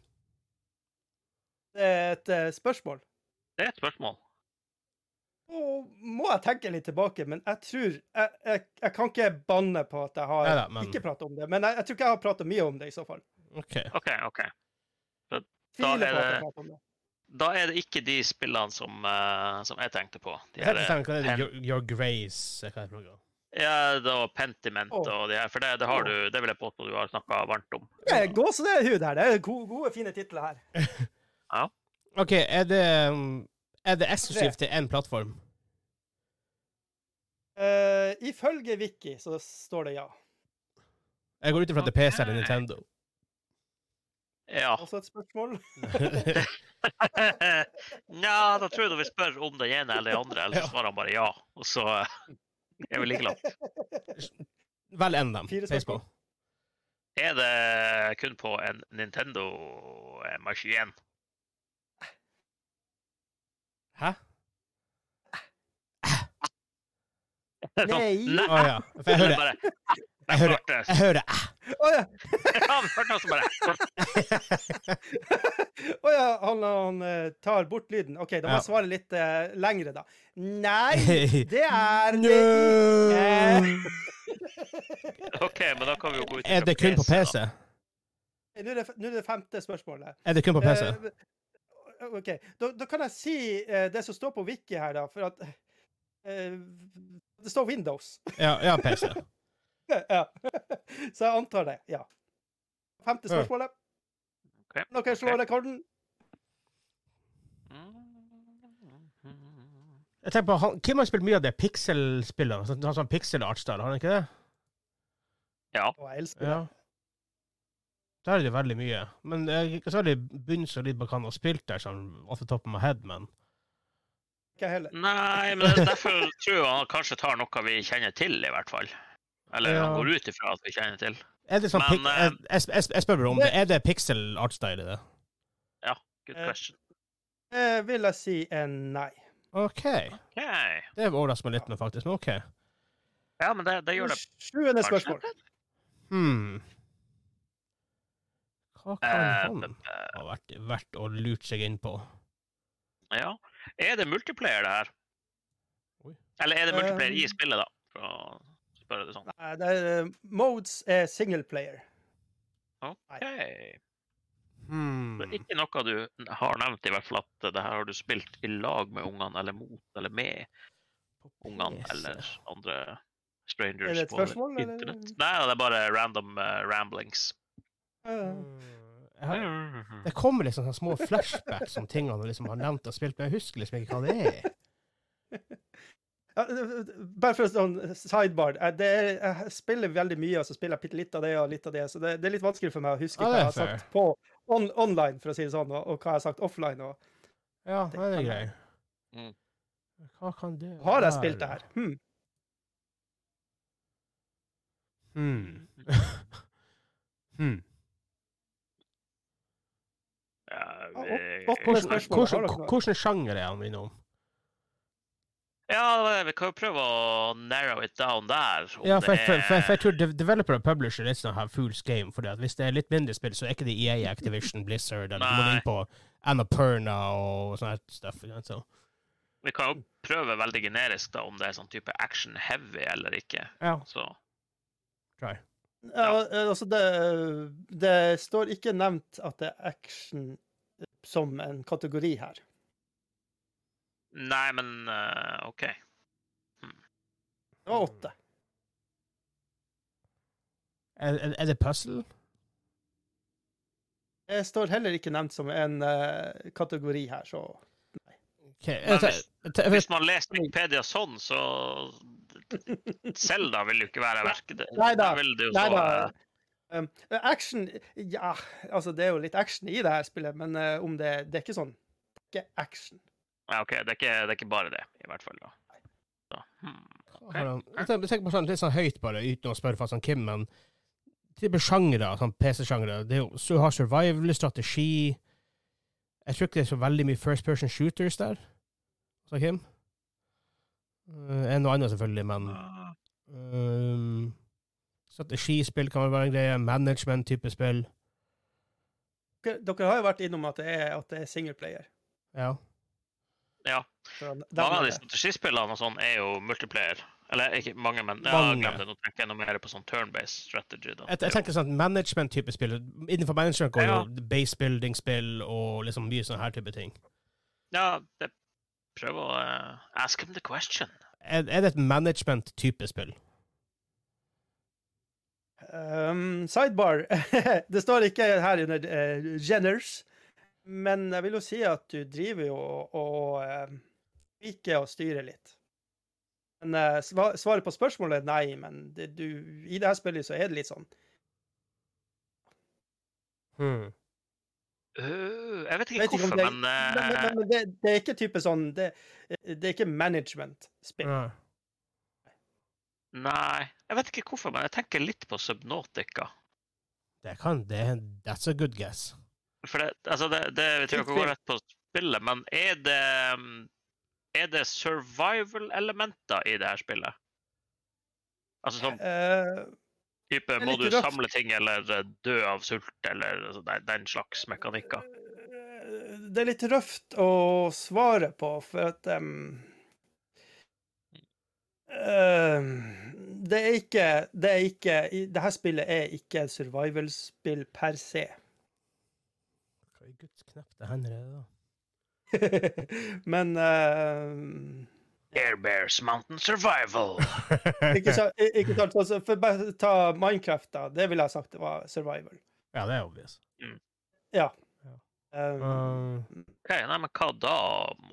Speaker 2: Det er et eh, spørsmål.
Speaker 3: Det er et spørsmål.
Speaker 2: Nå må jeg tenke litt tilbake, men jeg tror Jeg, jeg, jeg kan ikke banne på at jeg har
Speaker 1: Neida, men-
Speaker 2: ikke prata om det, men jeg, jeg tror ikke jeg har prata mye om det, i så fall.
Speaker 1: OK.
Speaker 3: OK, OK. Da
Speaker 2: Tviler på
Speaker 3: er
Speaker 2: at
Speaker 3: det-
Speaker 2: jeg pratet om det.
Speaker 3: Da er det ikke de spillene som, eh, som jeg tenkte på. De
Speaker 1: Helt
Speaker 3: her, eh,
Speaker 1: bestemt, hva er det?
Speaker 3: Pen-
Speaker 1: Your, your Grace eh, hva er det for noe?
Speaker 3: ja, det var Pentiment
Speaker 2: Åh.
Speaker 3: og de her, for det, det har du, det vil jeg påstå du har snakka varmt om.
Speaker 2: Det er gåsehud her. Det er gode, gode fine titler her.
Speaker 1: OK, er det um, Er det eksklusivt til én plattform?
Speaker 2: Eh, ifølge Wiki så står det ja.
Speaker 1: Jeg går ut ifra at det er PC eller
Speaker 3: Ok.
Speaker 1: Nintendo.
Speaker 3: Ja.
Speaker 2: Også et spørsmål.
Speaker 3: Nja, da tror jeg du vil spørre om den ene eller den andre, eller
Speaker 1: Ja.
Speaker 3: så svarer han bare ja. Og så eh, er vi like langt.
Speaker 1: Vel en av dem.
Speaker 2: Fire
Speaker 1: Face på.
Speaker 2: spørsmål.
Speaker 3: Er det kun på en Nintendo-maskin?
Speaker 1: Hæ?
Speaker 3: sånn,
Speaker 2: Nei.
Speaker 1: Å ja. For jeg hører
Speaker 3: bare,
Speaker 1: Jeg hører Jeg hører æ.
Speaker 2: Å ja.
Speaker 3: Han hørte noe som bare
Speaker 2: Å ja, han, han eh, tar bort lyden. OK, da må
Speaker 1: Ja.
Speaker 2: jeg svare litt eh, lengre, da. Nei, det er det
Speaker 1: Njø.
Speaker 2: ikke.
Speaker 3: OK, men da kan vi jo gå ut
Speaker 1: Er det kun på PC?
Speaker 3: da.
Speaker 2: Nå er det, nå er det femte spørsmålet.
Speaker 1: Er det kun på PC?
Speaker 2: Eh, OK. Da, da kan jeg si eh, det som står på Wiki her, da, for at eh, Det står Windows.
Speaker 1: Ja, ja PC.
Speaker 2: ja. Så jeg antar det. Ja. Femte
Speaker 1: Ja.
Speaker 2: spørsmålet.
Speaker 3: Ok,
Speaker 2: Kan Dere slår rekorden.
Speaker 1: Jeg tenker på, han, Kim har spilt mye av det pixel-spillet. Sånn, sånn pixel-art-style, har han ikke det?
Speaker 2: Å, jeg elsker det.
Speaker 1: Ja. Der er det veldig mye. Men jeg så er det bunn så litt på hva han har spilt der, sånn off the top of my head, men
Speaker 2: Ikke jeg heller.
Speaker 3: Nei, men det er derfor tror jeg han kanskje tar noe vi kjenner til, i hvert fall. Eller han
Speaker 1: Ja.
Speaker 3: går ut ifra at vi kjenner til.
Speaker 1: Er det sånn
Speaker 3: Men, eh,
Speaker 1: pik- jeg, jeg, jeg spør bare om det. Er det pixel-art-style i det?
Speaker 3: Good
Speaker 2: Eh,
Speaker 3: question.
Speaker 2: Eh, vil jeg si en nei.
Speaker 1: OK.
Speaker 3: Ok.
Speaker 1: Det overrasker meg litt, men faktisk. Men OK.
Speaker 3: Ja, men det, det gjør det
Speaker 2: Sjuende
Speaker 3: kanskje.
Speaker 2: spørsmål.
Speaker 1: Hmm. Hva
Speaker 3: Eh,
Speaker 1: kan han
Speaker 3: eh,
Speaker 1: ha vært verdt å lure seg inn på?
Speaker 3: ja. Er det multiplayer, det her?
Speaker 1: Oi.
Speaker 3: Eller er det multiplayer i
Speaker 2: Eh.
Speaker 3: spillet, da? For å spørre det sånn.
Speaker 2: Nei, det er, eh, modes er single player.
Speaker 3: OK.
Speaker 1: Hmm.
Speaker 3: Men ikke noe du har nevnt, i hvert fall at det her har du spilt i lag med ungene, eller mot, eller med ungene,
Speaker 1: PC.
Speaker 3: eller andre strangers
Speaker 2: Er det et
Speaker 3: på
Speaker 2: spørsmål, eller?
Speaker 3: internett. Nei, det er bare random eh, ramblings.
Speaker 2: Eh,
Speaker 1: Hmm. Jeg har, det kommer liksom sånne små flashbacks om tingene han liksom har nevnt og spilt, men jeg husker liksom ikke hva det er.
Speaker 2: Ja, eh, Bare for sånn sidebar. eh, Det er, jeg spiller veldig mye, og så spiller jeg bitte litt av det og litt av det, så det, det er litt vanskelig for meg å huske
Speaker 1: Ja,
Speaker 2: hva
Speaker 1: det er
Speaker 2: jeg har sagt på on online, for å si det sånn, og, og hva jeg har sagt offline. Og,
Speaker 1: Ja, det er grei.
Speaker 3: Mm.
Speaker 1: Hva kan det
Speaker 2: har jeg
Speaker 1: være?
Speaker 2: spilt det her? Hmm.
Speaker 1: Hmm. hmm.
Speaker 3: Ja,
Speaker 2: opp-
Speaker 3: vi-
Speaker 2: opp-
Speaker 1: Hvordan,
Speaker 2: spørsmålet, har
Speaker 1: hvordan,
Speaker 2: dere noe?
Speaker 1: hvordan sjanger er han innom?
Speaker 3: Ja, vi kan jo prøve å narrow it down der. om
Speaker 1: Ja, for,
Speaker 3: det
Speaker 1: for, for,
Speaker 3: er-
Speaker 1: for jeg tror
Speaker 2: Oh,
Speaker 1: de- developer og publisher er litt sånn her fools game, for at hvis det er litt mindre spill, så er ikke det EA, Activision, Blizzard, eller du må
Speaker 3: Nei.
Speaker 1: inn på Annapurna og sånn her stuff. ikke sant, så.
Speaker 3: Vi kan jo prøve veldig generisk da, om det er sånn type action heavy eller ikke.
Speaker 1: Ja.
Speaker 3: Så
Speaker 2: Ja, eh, altså, det, det står ikke nevnt at det er action eh, som en kategori her.
Speaker 3: Nei, men eh, OK.
Speaker 2: Det var åtte.
Speaker 1: Er, er- er det puzzle?
Speaker 2: Det står heller ikke nevnt som en eh, kategori her, så
Speaker 1: Ok, jeg tar- jeg tar-
Speaker 3: Hvis man leser Wikipedia sånn, så Selda vil jo ikke være verket.
Speaker 2: Nei da,
Speaker 3: vil det jo
Speaker 2: Nei
Speaker 3: så,
Speaker 2: da.
Speaker 3: eh,
Speaker 2: Um, action Ja, altså, det er jo litt action i det her spillet, men eh, om det Det er ikke sånn Det er ikke action.
Speaker 3: Ja, OK, det er, ikke, det er ikke bare det, i hvert fall. da. Så, hmm.
Speaker 1: har han- jeg tenker- jeg tenker på sånn, litt sånn høyt, bare, uten å spørre fast sånn Kim, men type sjangere, sånn PC-sjangere, det er jo- så har survival, strategi Jeg tror ikke det er så veldig mye first person shooters der, sa Kim. Eh, en og annen, selvfølgelig, men Ehm, strategispill kan vel være en greie. Management-type spill.
Speaker 2: Dere, dere har jo vært innom at det er, at det er singleplayer.
Speaker 1: Ja.
Speaker 3: Ja.
Speaker 2: Så den- den
Speaker 3: Mange av
Speaker 2: er
Speaker 3: de
Speaker 2: det.
Speaker 3: strategispillene og sånn er jo multiplayer. Eller ikke mange, men ja,
Speaker 1: Mange.
Speaker 3: glem det. Nå tenker jeg noe mer på sånn turn-based strategy. da.
Speaker 1: Jeg, jeg tenker sånn at management-type spill Innenfor management går
Speaker 3: Ja.
Speaker 1: jo base building-spill og liksom mye sånne her type ting.
Speaker 3: Ja, det, prøv å eh, ask him the question.
Speaker 1: Er, er det et management-type spill?
Speaker 2: Um, sidebar. det står ikke her under eh, genders, men jeg vil jo si at du driver jo og, og eh, liker å styre litt. Men eh, sva- svaret på spørsmålet er nei, men det, du, i det her spillet så er det litt sånn
Speaker 1: Hmm.
Speaker 3: Øh, jeg vet ikke
Speaker 2: Jeg vet ikke om
Speaker 3: hvorfor,
Speaker 2: det-
Speaker 3: men,
Speaker 2: Men, men,
Speaker 3: eh,
Speaker 2: men, men det, det er ikke type sånn Det, det er ikke management-spill.
Speaker 1: Ja.
Speaker 3: Nei. Jeg vet ikke hvorfor, men jeg tenker litt på Subnotica.
Speaker 1: Det kan det, That's a good guess.
Speaker 3: For det, altså det, det jeg tror jeg ikke
Speaker 2: Spill.
Speaker 3: går rett på spillet, men er det mm, Er det survival-elementer i det her spillet? Altså sånn
Speaker 2: Eh,
Speaker 3: type
Speaker 2: er
Speaker 3: må
Speaker 2: litt
Speaker 3: du
Speaker 2: røft.
Speaker 3: samle ting eller eh, dø av sult eller altså, den- den slags mekanikker?
Speaker 2: eh, det er litt røft å svare på, for at em, em, Det er ikke Det er ikke i- Det her spillet er ikke et survival-spill per se.
Speaker 1: Hva i guds knepte hender er det, da?
Speaker 2: Men eh, em,
Speaker 3: Air Bears Mountain Survival.
Speaker 2: ikke, så, ikke sant, sånn som- for bare ta Minecraft, da. Det ville jeg sagt det var survival.
Speaker 1: Ja, det er obvious.
Speaker 2: Em,
Speaker 1: Uh,
Speaker 3: Ok, nei, men hva da?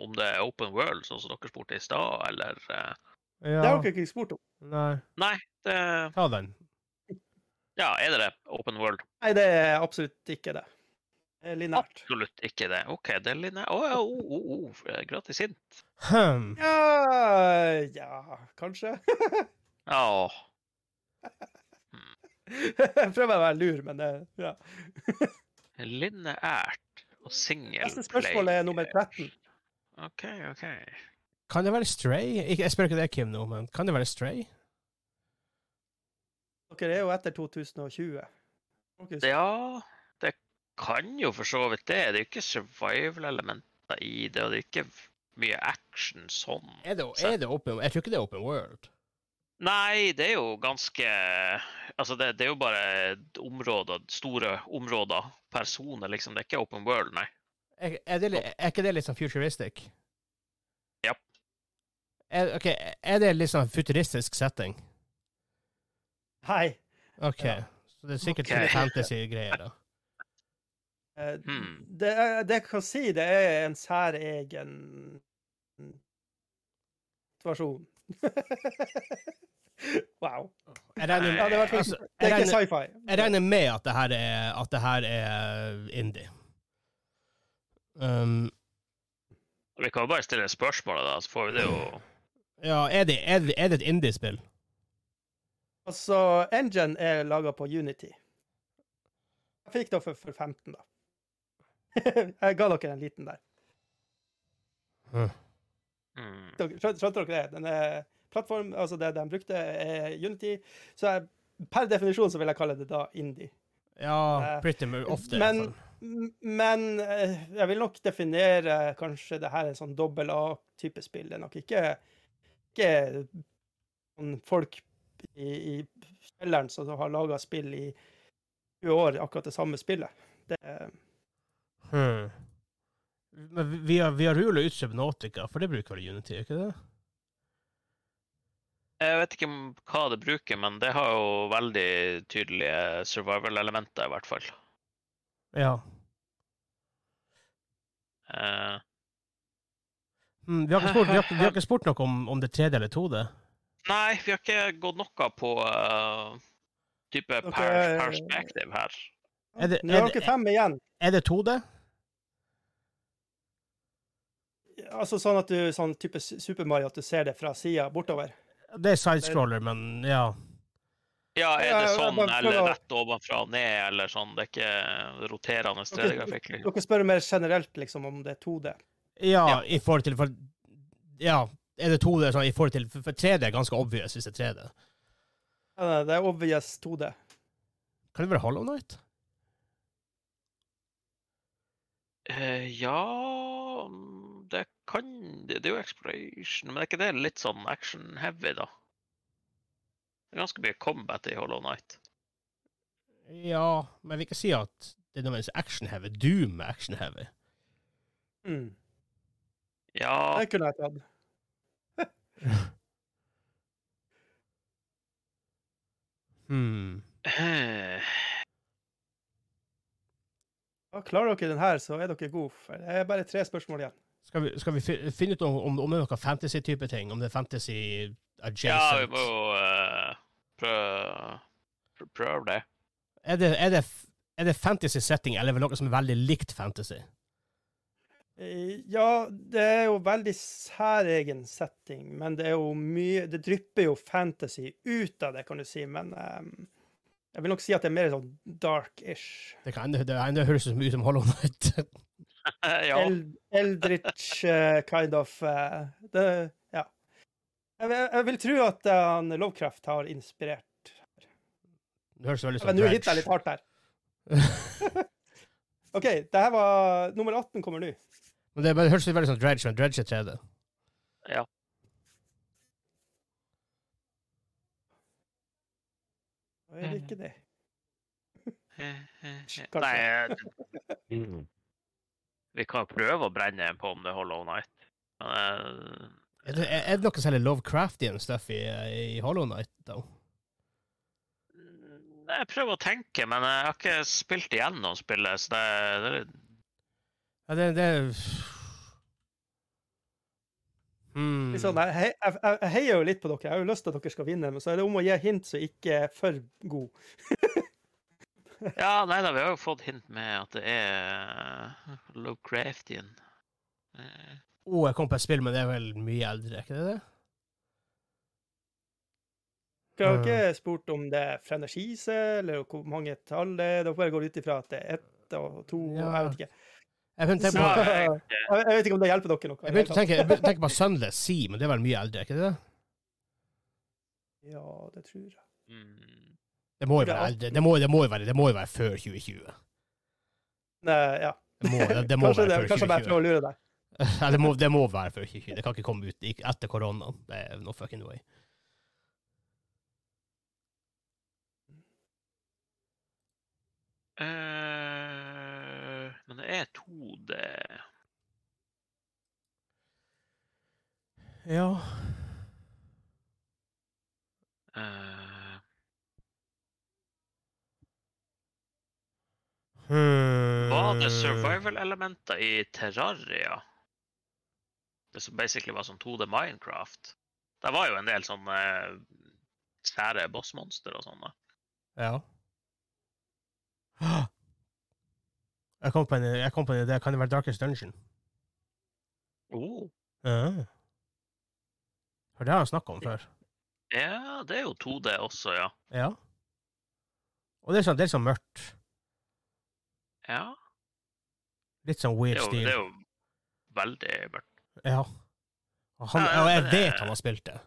Speaker 3: Om det er open world, sånn som dere spurte i stad, eller eh,
Speaker 1: Ah,
Speaker 2: Det
Speaker 1: ja
Speaker 2: har dere ikke spurt om.
Speaker 1: Nei.
Speaker 3: det,
Speaker 1: Ta den.
Speaker 3: Ja, er det det? Open world?
Speaker 2: Nei, det er absolutt ikke det. Det er Linært.
Speaker 3: Absolutt ikke det. OK, det er linje Å ja, oh, oh, oh, eh, gratis inn.
Speaker 1: Hmm.
Speaker 2: Ja, ja kanskje.
Speaker 3: Ja.
Speaker 2: eh, Jeg prøver å være lur, men det ja.
Speaker 3: Lineært. Og single
Speaker 2: Neste spørsmål er nummer 13.
Speaker 3: OK, OK.
Speaker 1: Kan det være Stray? Ikke- Jeg spør ikke deg, Kim, nå, men kan det være Stray?
Speaker 2: Dere er jo etter 2020. August.
Speaker 3: Ja, det kan jo for så vidt det. Det er jo ikke survival-elementer i det, og det er ikke mye action sånn.
Speaker 1: Er det, er det open, jeg tror ikke det er Open World.
Speaker 3: Nei, det er jo ganske Altså, det, det er jo bare områder, store områder per sone, liksom. Det er ikke open world, nei.
Speaker 1: Er, er, det, li- er ikke det litt sånn futuristic?
Speaker 3: Japp.
Speaker 1: Er, ok, er det litt sånn futuristisk setting?
Speaker 2: Hei.
Speaker 1: OK.
Speaker 2: Ja.
Speaker 1: Så det er sikkert
Speaker 3: Ok.
Speaker 1: okay. fantasy-greier, da.
Speaker 2: Eh,
Speaker 3: Hmm.
Speaker 2: Det, er- det jeg kan si, det er en særegen situasjon. wow.
Speaker 1: Jeg regner,
Speaker 3: Ja, det var fint.
Speaker 1: altså, jeg
Speaker 2: Det er ikke
Speaker 1: regner,
Speaker 2: sci-fi.
Speaker 1: jeg regner med at det her er, at det her er indie. Um,
Speaker 3: Vi kan jo bare stille spørsmålet, da, så får vi det jo
Speaker 1: ja, er det, er det, er det et indie-spill?
Speaker 2: Altså, Engine er laga på Unity. Jeg fikk det for, for 15, da. jeg ga dere en liten der.
Speaker 3: mm.
Speaker 2: Dere- skjøn- Skjønte dere det? Den er plattform, altså det de brukte, er Unity. Så jeg, per definisjon så vil jeg kalle det da indie.
Speaker 1: Ja,
Speaker 2: Eh,
Speaker 1: pretty much ofte. i
Speaker 2: men-
Speaker 1: hvert fall.
Speaker 2: M- Men eh, jeg vil nok definere kanskje det her en sånn dobbel A-type spill. Det er nok ikke, ikke sånn folk i, i kjelleren som har laga spill i 20 år, akkurat det samme spillet. Det,
Speaker 1: Hmm. Men vi- vi har, vi har Rule og Utsubnautica, for det bruker vel Unity, ikke det?
Speaker 3: Jeg vet ikke om hva det bruker, men det har jo veldig tydelige survival-elementer, i hvert fall.
Speaker 1: Ja.
Speaker 3: Eh,
Speaker 1: Hmm, vi, har ikke spurt, vi, har, ikke- vi har ikke spurt noe om, om det tredje eller to, det.
Speaker 3: nei, vi har ikke gått noe på eh, type
Speaker 2: Dere-
Speaker 3: per perspective her.
Speaker 1: Er det-
Speaker 2: nå
Speaker 1: er
Speaker 2: har
Speaker 1: det-
Speaker 2: dere fem igjen.
Speaker 1: Er det 2D?
Speaker 2: Altså sånn at du sånn type Su- Super Mario, at du ser det fra sida bortover.
Speaker 1: Det er sidescroller, men ja.
Speaker 2: Ja,
Speaker 3: Ja, er det
Speaker 2: jeg- jeg
Speaker 3: sånn,
Speaker 2: bare
Speaker 3: eller
Speaker 2: prøver å-
Speaker 3: rett ovenfra og ned, eller sånn? Det er ikke roterende 3D-grafikk, liksom.
Speaker 2: Dere spør mer generelt liksom om det er 2D.
Speaker 1: Ja,
Speaker 3: Ja.
Speaker 1: i forhold til for, Ja, er det 2D sånn, i forhold til For for 3D er ganske obvious hvis det er 3D.
Speaker 2: Nei, nei, Det er obvious 2D.
Speaker 1: Kan det være Hollow Night?
Speaker 3: Eh, ja mm, Det kan det, det er jo exploration, men er ikke det litt sånn action-heavy, da? Det er ganske mye combat i Hollow Night.
Speaker 1: Ja, men jeg vil ikke si at det er nødvendigvis action-heavy. Doom er action-heavy.
Speaker 2: Mm.
Speaker 3: Ja,
Speaker 2: Det kunne jeg tatt.
Speaker 1: Hmm.
Speaker 3: eh,
Speaker 2: Ja, klarer dere den her, så er dere gode. For det er bare tre spørsmål igjen.
Speaker 1: Skal vi, skal vi fi- finne ut om, om, om det er noe fantasy-type ting? Om det er fantasy adjacent?
Speaker 3: ja vi må jo eh, prøve, pr- prøve det.
Speaker 1: Er det, er det, f- er det fantasy-setting, eller er det noe som er veldig likt fantasy?
Speaker 2: Eh, Ja, det er jo veldig særegen setting, men det er jo mye Det drypper jo fantasy ut av det, kan du si, men ehm, jeg vil nok si at det er mer sånn dark-ish.
Speaker 1: Det, kan, det, det høres ut som- ut som Hollow Night.
Speaker 3: ja.
Speaker 2: Eld, eldritch eh, kind of eh, det, Ja. Jeg, vil- jeg vil tro at eh, han Lovecraft har inspirert
Speaker 1: Det høres veldig ut som
Speaker 2: Men nå hitta jeg litt
Speaker 1: Dredge.
Speaker 2: hardt her. OK, det her var Nummer 18 kommer nå.
Speaker 1: Men det, men det høres ut veldig som Dredge, men Dredge er 3D.
Speaker 2: Er det ikke det? Kanskje.
Speaker 3: Nei eh, Vi kan jo prøve å brenne en på om det er Hollow Night. Men eh,
Speaker 1: Er det, er det noe særlig Lovecraftian stuff i, i Hollow Night, da?
Speaker 3: Mm, Jeg prøver å tenke, men jeg har ikke spilt igjennom spillet, så det, det er litt-
Speaker 1: Ja, det, det hmm.
Speaker 2: Litt sånn, jeg, hei- jeg, jeg, jeg heier jo litt på dere. Jeg har jo lyst til at dere skal vinne, men så er det om å gi hint som ikke er for god.
Speaker 3: Ja, nei da, vi har jo fått hint med at det er Lowcraftian. Eh,
Speaker 1: Å, jeg kom på et spill, men det er vel mye eldre, er ikke det det?
Speaker 2: Dere har
Speaker 1: Mm.
Speaker 2: ikke spurt om det er franchise, eller hvor mange tall det er. Dere bare går ut ifra at det er ett og to, og
Speaker 1: Ja.
Speaker 2: jeg vet ikke.
Speaker 1: Jeg begynte å tenke
Speaker 2: Så-
Speaker 1: på,
Speaker 3: jeg-
Speaker 2: Jeg jeg vet ikke om det hjelper dere noe.
Speaker 1: jeg begynte å tenke, jeg begynte å tenke på Sunless Sea, men det er vel mye eldre, ikke det?
Speaker 2: Ja, det tror jeg.
Speaker 3: Mm.
Speaker 1: Det må jo være eldre. Det må, det må, jo, være, det må jo være før 2020.
Speaker 2: Nei, ja.
Speaker 1: Det må, det, det må
Speaker 2: kanskje det,
Speaker 1: være før
Speaker 2: kanskje
Speaker 1: 2020.
Speaker 2: bare prøve å lure deg.
Speaker 1: Ja, det, må, det må være før 2020. Det kan ikke komme ut i- etter koronaen. Det er no fucking way.
Speaker 3: Eh, men det er 2D
Speaker 1: Ja.
Speaker 3: eh, Var
Speaker 1: Mm.
Speaker 3: det survival-elementer i Terraria? Det som basically var sånn 2D Minecraft. Det var jo en del sånne eh, sære bossmonster og sånn, sånne.
Speaker 1: Ja. Jeg kom på en, jeg kom på en idé. Kan det være Darkest Dungeon?
Speaker 3: Oh.
Speaker 2: Ah.
Speaker 1: Ja. For det har han snakka om før.
Speaker 3: Ja, det er jo 2D også, ja.
Speaker 1: Ja. Og det er sånn, det er sånn mørkt.
Speaker 3: Ja,
Speaker 1: Litt sånn
Speaker 3: det
Speaker 1: weird
Speaker 3: er jo,
Speaker 1: stil.
Speaker 3: det er jo veldig mørkt.
Speaker 1: Ja. Og, han,
Speaker 3: Ja, ja,
Speaker 1: og jeg
Speaker 3: men det-
Speaker 1: vet han har spilt det.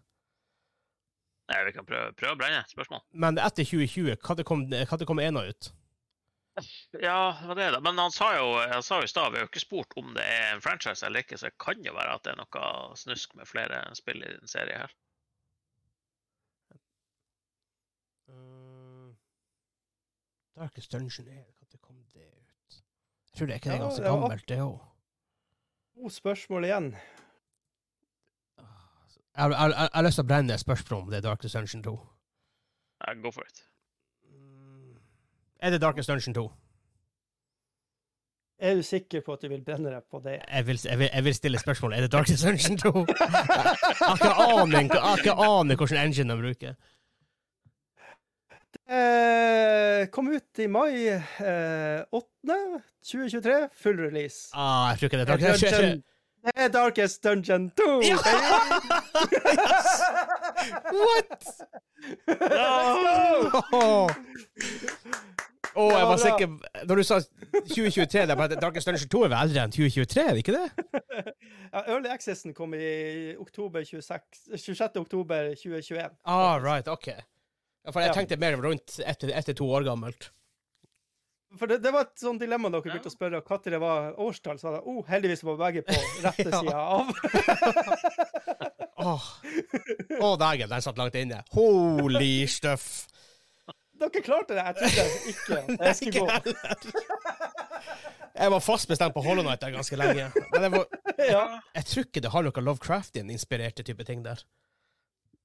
Speaker 3: Nei, vi kan prøve, prøve å brenne. Spørsmål?
Speaker 1: Men etter 2020, hva det kom, hva det kom ena ut?
Speaker 3: Ja, det var det, da. Men han sa jo han sa jo i stad, vi har jo ikke spurt om det er en franchise eller ikke, så det kan jo være at det er noe snusk med flere spill i den serien her.
Speaker 1: Mm. Darkest Dungeon er Hva det kom det ut? Jeg tror det er ikke det er
Speaker 2: Ja,
Speaker 1: ganske
Speaker 2: det var-
Speaker 1: gammelt, det òg.
Speaker 2: To spørsmål igjen.
Speaker 1: Jeg jeg- jeg- jeg har lyst til å brenne et spørsmål om det er Darkest Dungeon 2.
Speaker 3: Ja, go for it.
Speaker 1: Mm. Er det Darkest Dungeon 2?
Speaker 2: Er du sikker på at du vil brenne deg på det?
Speaker 1: Jeg vil, jeg vil, jeg vil stille spørsmål. Er det Darkest Dungeon 2? Jeg har ikke aning, jeg har ikke aning hvilken engine de bruker.
Speaker 2: Eh, kom ut i mai eh, 8. 2023. Full release.
Speaker 1: Ah, jeg tror ikke det er
Speaker 2: Det er
Speaker 1: Darkest Dungeon.
Speaker 2: Dungeon- det er Darkest Dungeon 2!
Speaker 1: Ja! What?!
Speaker 2: Let's go!
Speaker 1: Åh, Åh,
Speaker 2: Det
Speaker 1: jeg
Speaker 2: var
Speaker 1: var
Speaker 2: bra.
Speaker 1: sikker Når du sa 2023, det er bare Darkest Dungeon 2 er vel eldre enn 2023, er det ikke det?
Speaker 2: Ja, Early Accesen kom i oktober 26, 26. oktober 2021.
Speaker 1: Ah, right, ok. Ja, for jeg
Speaker 2: Ja.
Speaker 1: tenkte mer rundt ett til- ett til to år gammelt.
Speaker 2: For det, det var et sånt dilemma dere begynte
Speaker 3: Ja.
Speaker 2: å spørre når det var årstall. Så var det, oh, heldigvis var begge på rette
Speaker 1: Ja.
Speaker 2: sida av.
Speaker 1: Åh, Åh, dagen, den satt langt inne. Holy stuff!
Speaker 2: Dere klarte det! Jeg trodde ikke at det skulle gå.
Speaker 1: Jeg var fast bestemt på Hollow Night der ganske lenge. Men jeg, var,
Speaker 2: Ja.
Speaker 1: jeg tror ikke det har noe Lovecraftian-inspirerte type ting der.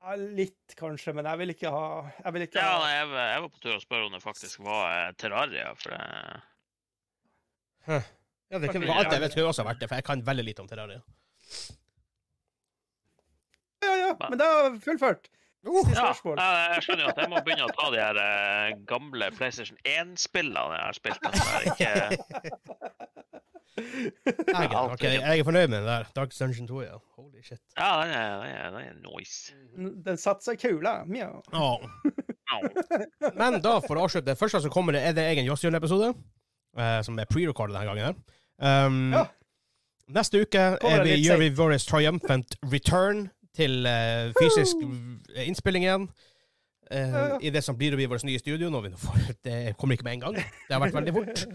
Speaker 2: Ja, litt, kanskje, men jeg vil ikke ha Jeg vil ikke
Speaker 3: Ja,
Speaker 2: ha
Speaker 3: nei, jeg, var- jeg var på tur å spørre om det faktisk var eh, Terraria, for eh, det
Speaker 1: Ja, det
Speaker 3: kunne-
Speaker 1: kunne alt jeg vet, kunne også vært det, for jeg kan veldig lite om Terraria.
Speaker 2: Ja, ja, men da har jeg fullført. Siste
Speaker 3: Ja,
Speaker 2: spørsmål.
Speaker 3: jeg, jeg skjønner jo at jeg må begynne å ta de her eh, gamle PlayStation 1-spillene jeg har spilt. Altså. Jeg er Ikke,
Speaker 1: Dagen, ok, jeg er fornøyd med den der. Darkest Dungeon 2, ja. Holy shit.
Speaker 3: ja, den er, den er, den er nice.
Speaker 2: Den satte seg i kula. Mjau.
Speaker 1: Åh.
Speaker 3: Au.
Speaker 1: Men da, for å avslutte, først så kommer det, er det egen Jåsshjørn-episode, eh, som er pre-recorded denne gangen. her. Um,
Speaker 2: Ja.
Speaker 1: Neste uke er
Speaker 2: Kommer
Speaker 1: vi,
Speaker 2: litt
Speaker 1: gjør vi vår triumphant return til eh, fysisk eh, innspilling igjen. eh,
Speaker 2: Ja, ja.
Speaker 1: I det som blir å bli vårt nye studio. Når vi nå får, det kommer ikke med en gang. Det har vært veldig fort.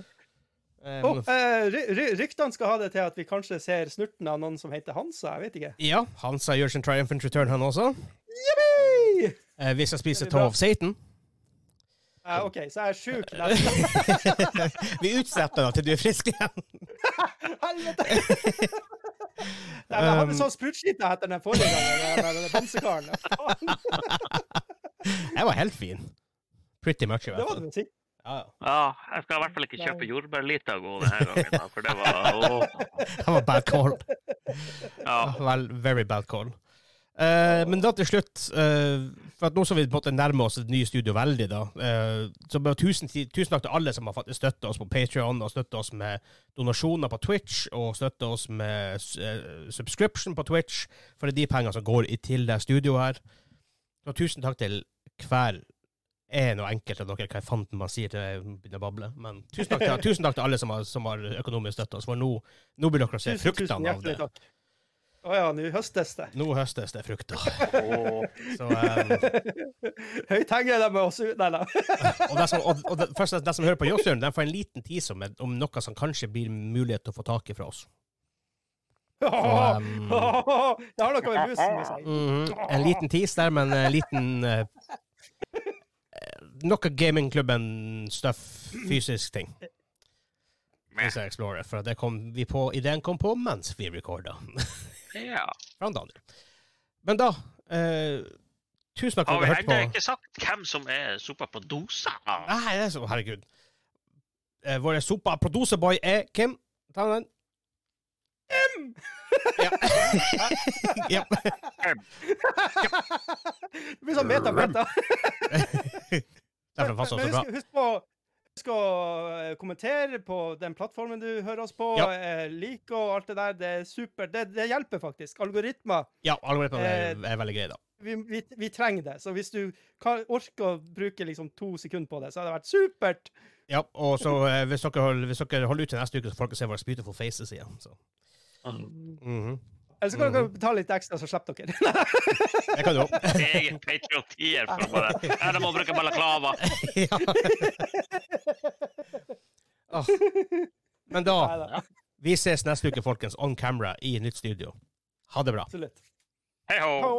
Speaker 1: Eh,
Speaker 2: Oh, eh, ry- ry- ryktene skal ha det til at vi kanskje ser snurten av noen som heter Hansa. Jeg vet ikke.
Speaker 1: Ja, Hansa gjør sin triumphant return, han også.
Speaker 2: Yippee!
Speaker 1: Eh, vi skal spise
Speaker 2: Det blir bra.
Speaker 1: Toe of Satan.
Speaker 2: Ja, Eh, OK, så jeg er sjuk neste
Speaker 1: vi utsetter da til du er frisk igjen.
Speaker 2: Helvete! Nei, men jeg
Speaker 1: Um,
Speaker 2: hadde sånn sprutskite etter den forrige gangen. Den, den bamsekaren. Faen,
Speaker 1: Jeg var helt fin. Pretty much, i
Speaker 2: Det
Speaker 1: hvert
Speaker 2: var
Speaker 1: fall.
Speaker 2: det musikk.
Speaker 1: Ja, ja.
Speaker 3: Ja, jeg skal i hvert fall ikke kjøpe jordbærlitago denne gangen, da, for det var åh.
Speaker 1: Det var bad call.
Speaker 3: ja.
Speaker 1: Vel, very bad call. Eh, men da til slutt, eh, for at nå som vi på en måte nærmer oss et nye studio veldig, da, eh, så bare tusen, ti- tusen takk til alle som har faktisk støtta oss på Patreon og støtta oss med donasjoner på Twitch, og støtta oss med eh, subscription på Twitch, for det er de pengene som går i til det studioet her. Så tusen takk til hver er noe enkelt av dere, hva i fanden man sier til jeg begynner å bable. Men tusen takk til, tusen takk til alle som har, som har økonomisk støtte oss, for nå, nå blir dere å se fruktene av det.
Speaker 2: takk. Å ja, nå høstes det.
Speaker 1: Nå høstes det frukter.
Speaker 3: Åh.
Speaker 1: Så, eh,
Speaker 2: Høyt henger de oss ut, nei da.
Speaker 1: og de som, og, og de, først, de som hører på Jåsshjørnet, de får en liten tease om, om noe som kanskje blir mulighet til å få tak i fra oss. Så, um,
Speaker 2: Det har noe med musen å si.
Speaker 1: Mhm. En liten tease der, men en liten eh, Noe gamingklubben-stuff, fysisk ting. Hvis jeg explorer, for det kom vi på, ideen kom på mens vi recorda.
Speaker 3: Ja.
Speaker 1: Fra Daniel. Men da eh, Tusen takk for at
Speaker 3: Har vi
Speaker 1: dere hørte
Speaker 3: ennå
Speaker 1: på.
Speaker 3: ikke sagt hvem som er sopa på dosa?
Speaker 1: Nei, det er så, herregud. Eh, Vår sopa produseboy er Kim. Ta den. Ja. ja.
Speaker 2: Det blir sånn meta-meta.
Speaker 1: Derfor passer det så
Speaker 2: Men
Speaker 1: bra.
Speaker 2: husk, husk på Husk å eh, kommentere på den plattformen du hører oss på.
Speaker 1: Ja.
Speaker 2: eh, Like og alt det der. Det er supert. Det, det hjelper faktisk. Algoritmer.
Speaker 1: Ja, algoritmene er, er veldig greie, da.
Speaker 2: Vi, vi, vi trenger det. Så hvis du kan, orker å bruke liksom to sekunder på det, så hadde det vært supert.
Speaker 1: Ja, og så eh, hvis, dere holder, hvis dere holder ut til neste uke, så får dere se våre beautiful faces igjen. Så. Mhm.
Speaker 2: Eller så kan dere betale litt ekstra, så slipper dere.
Speaker 1: Det kan du òg.
Speaker 3: Egen patriotier for bare Ja, de må bruke balaklava.
Speaker 1: ja. Åh. Men da
Speaker 2: Neida,
Speaker 1: Vi ses neste uke, folkens, on camera i nytt studio. Ha det bra.
Speaker 2: absolutt.
Speaker 3: Hei ho!
Speaker 2: Hå.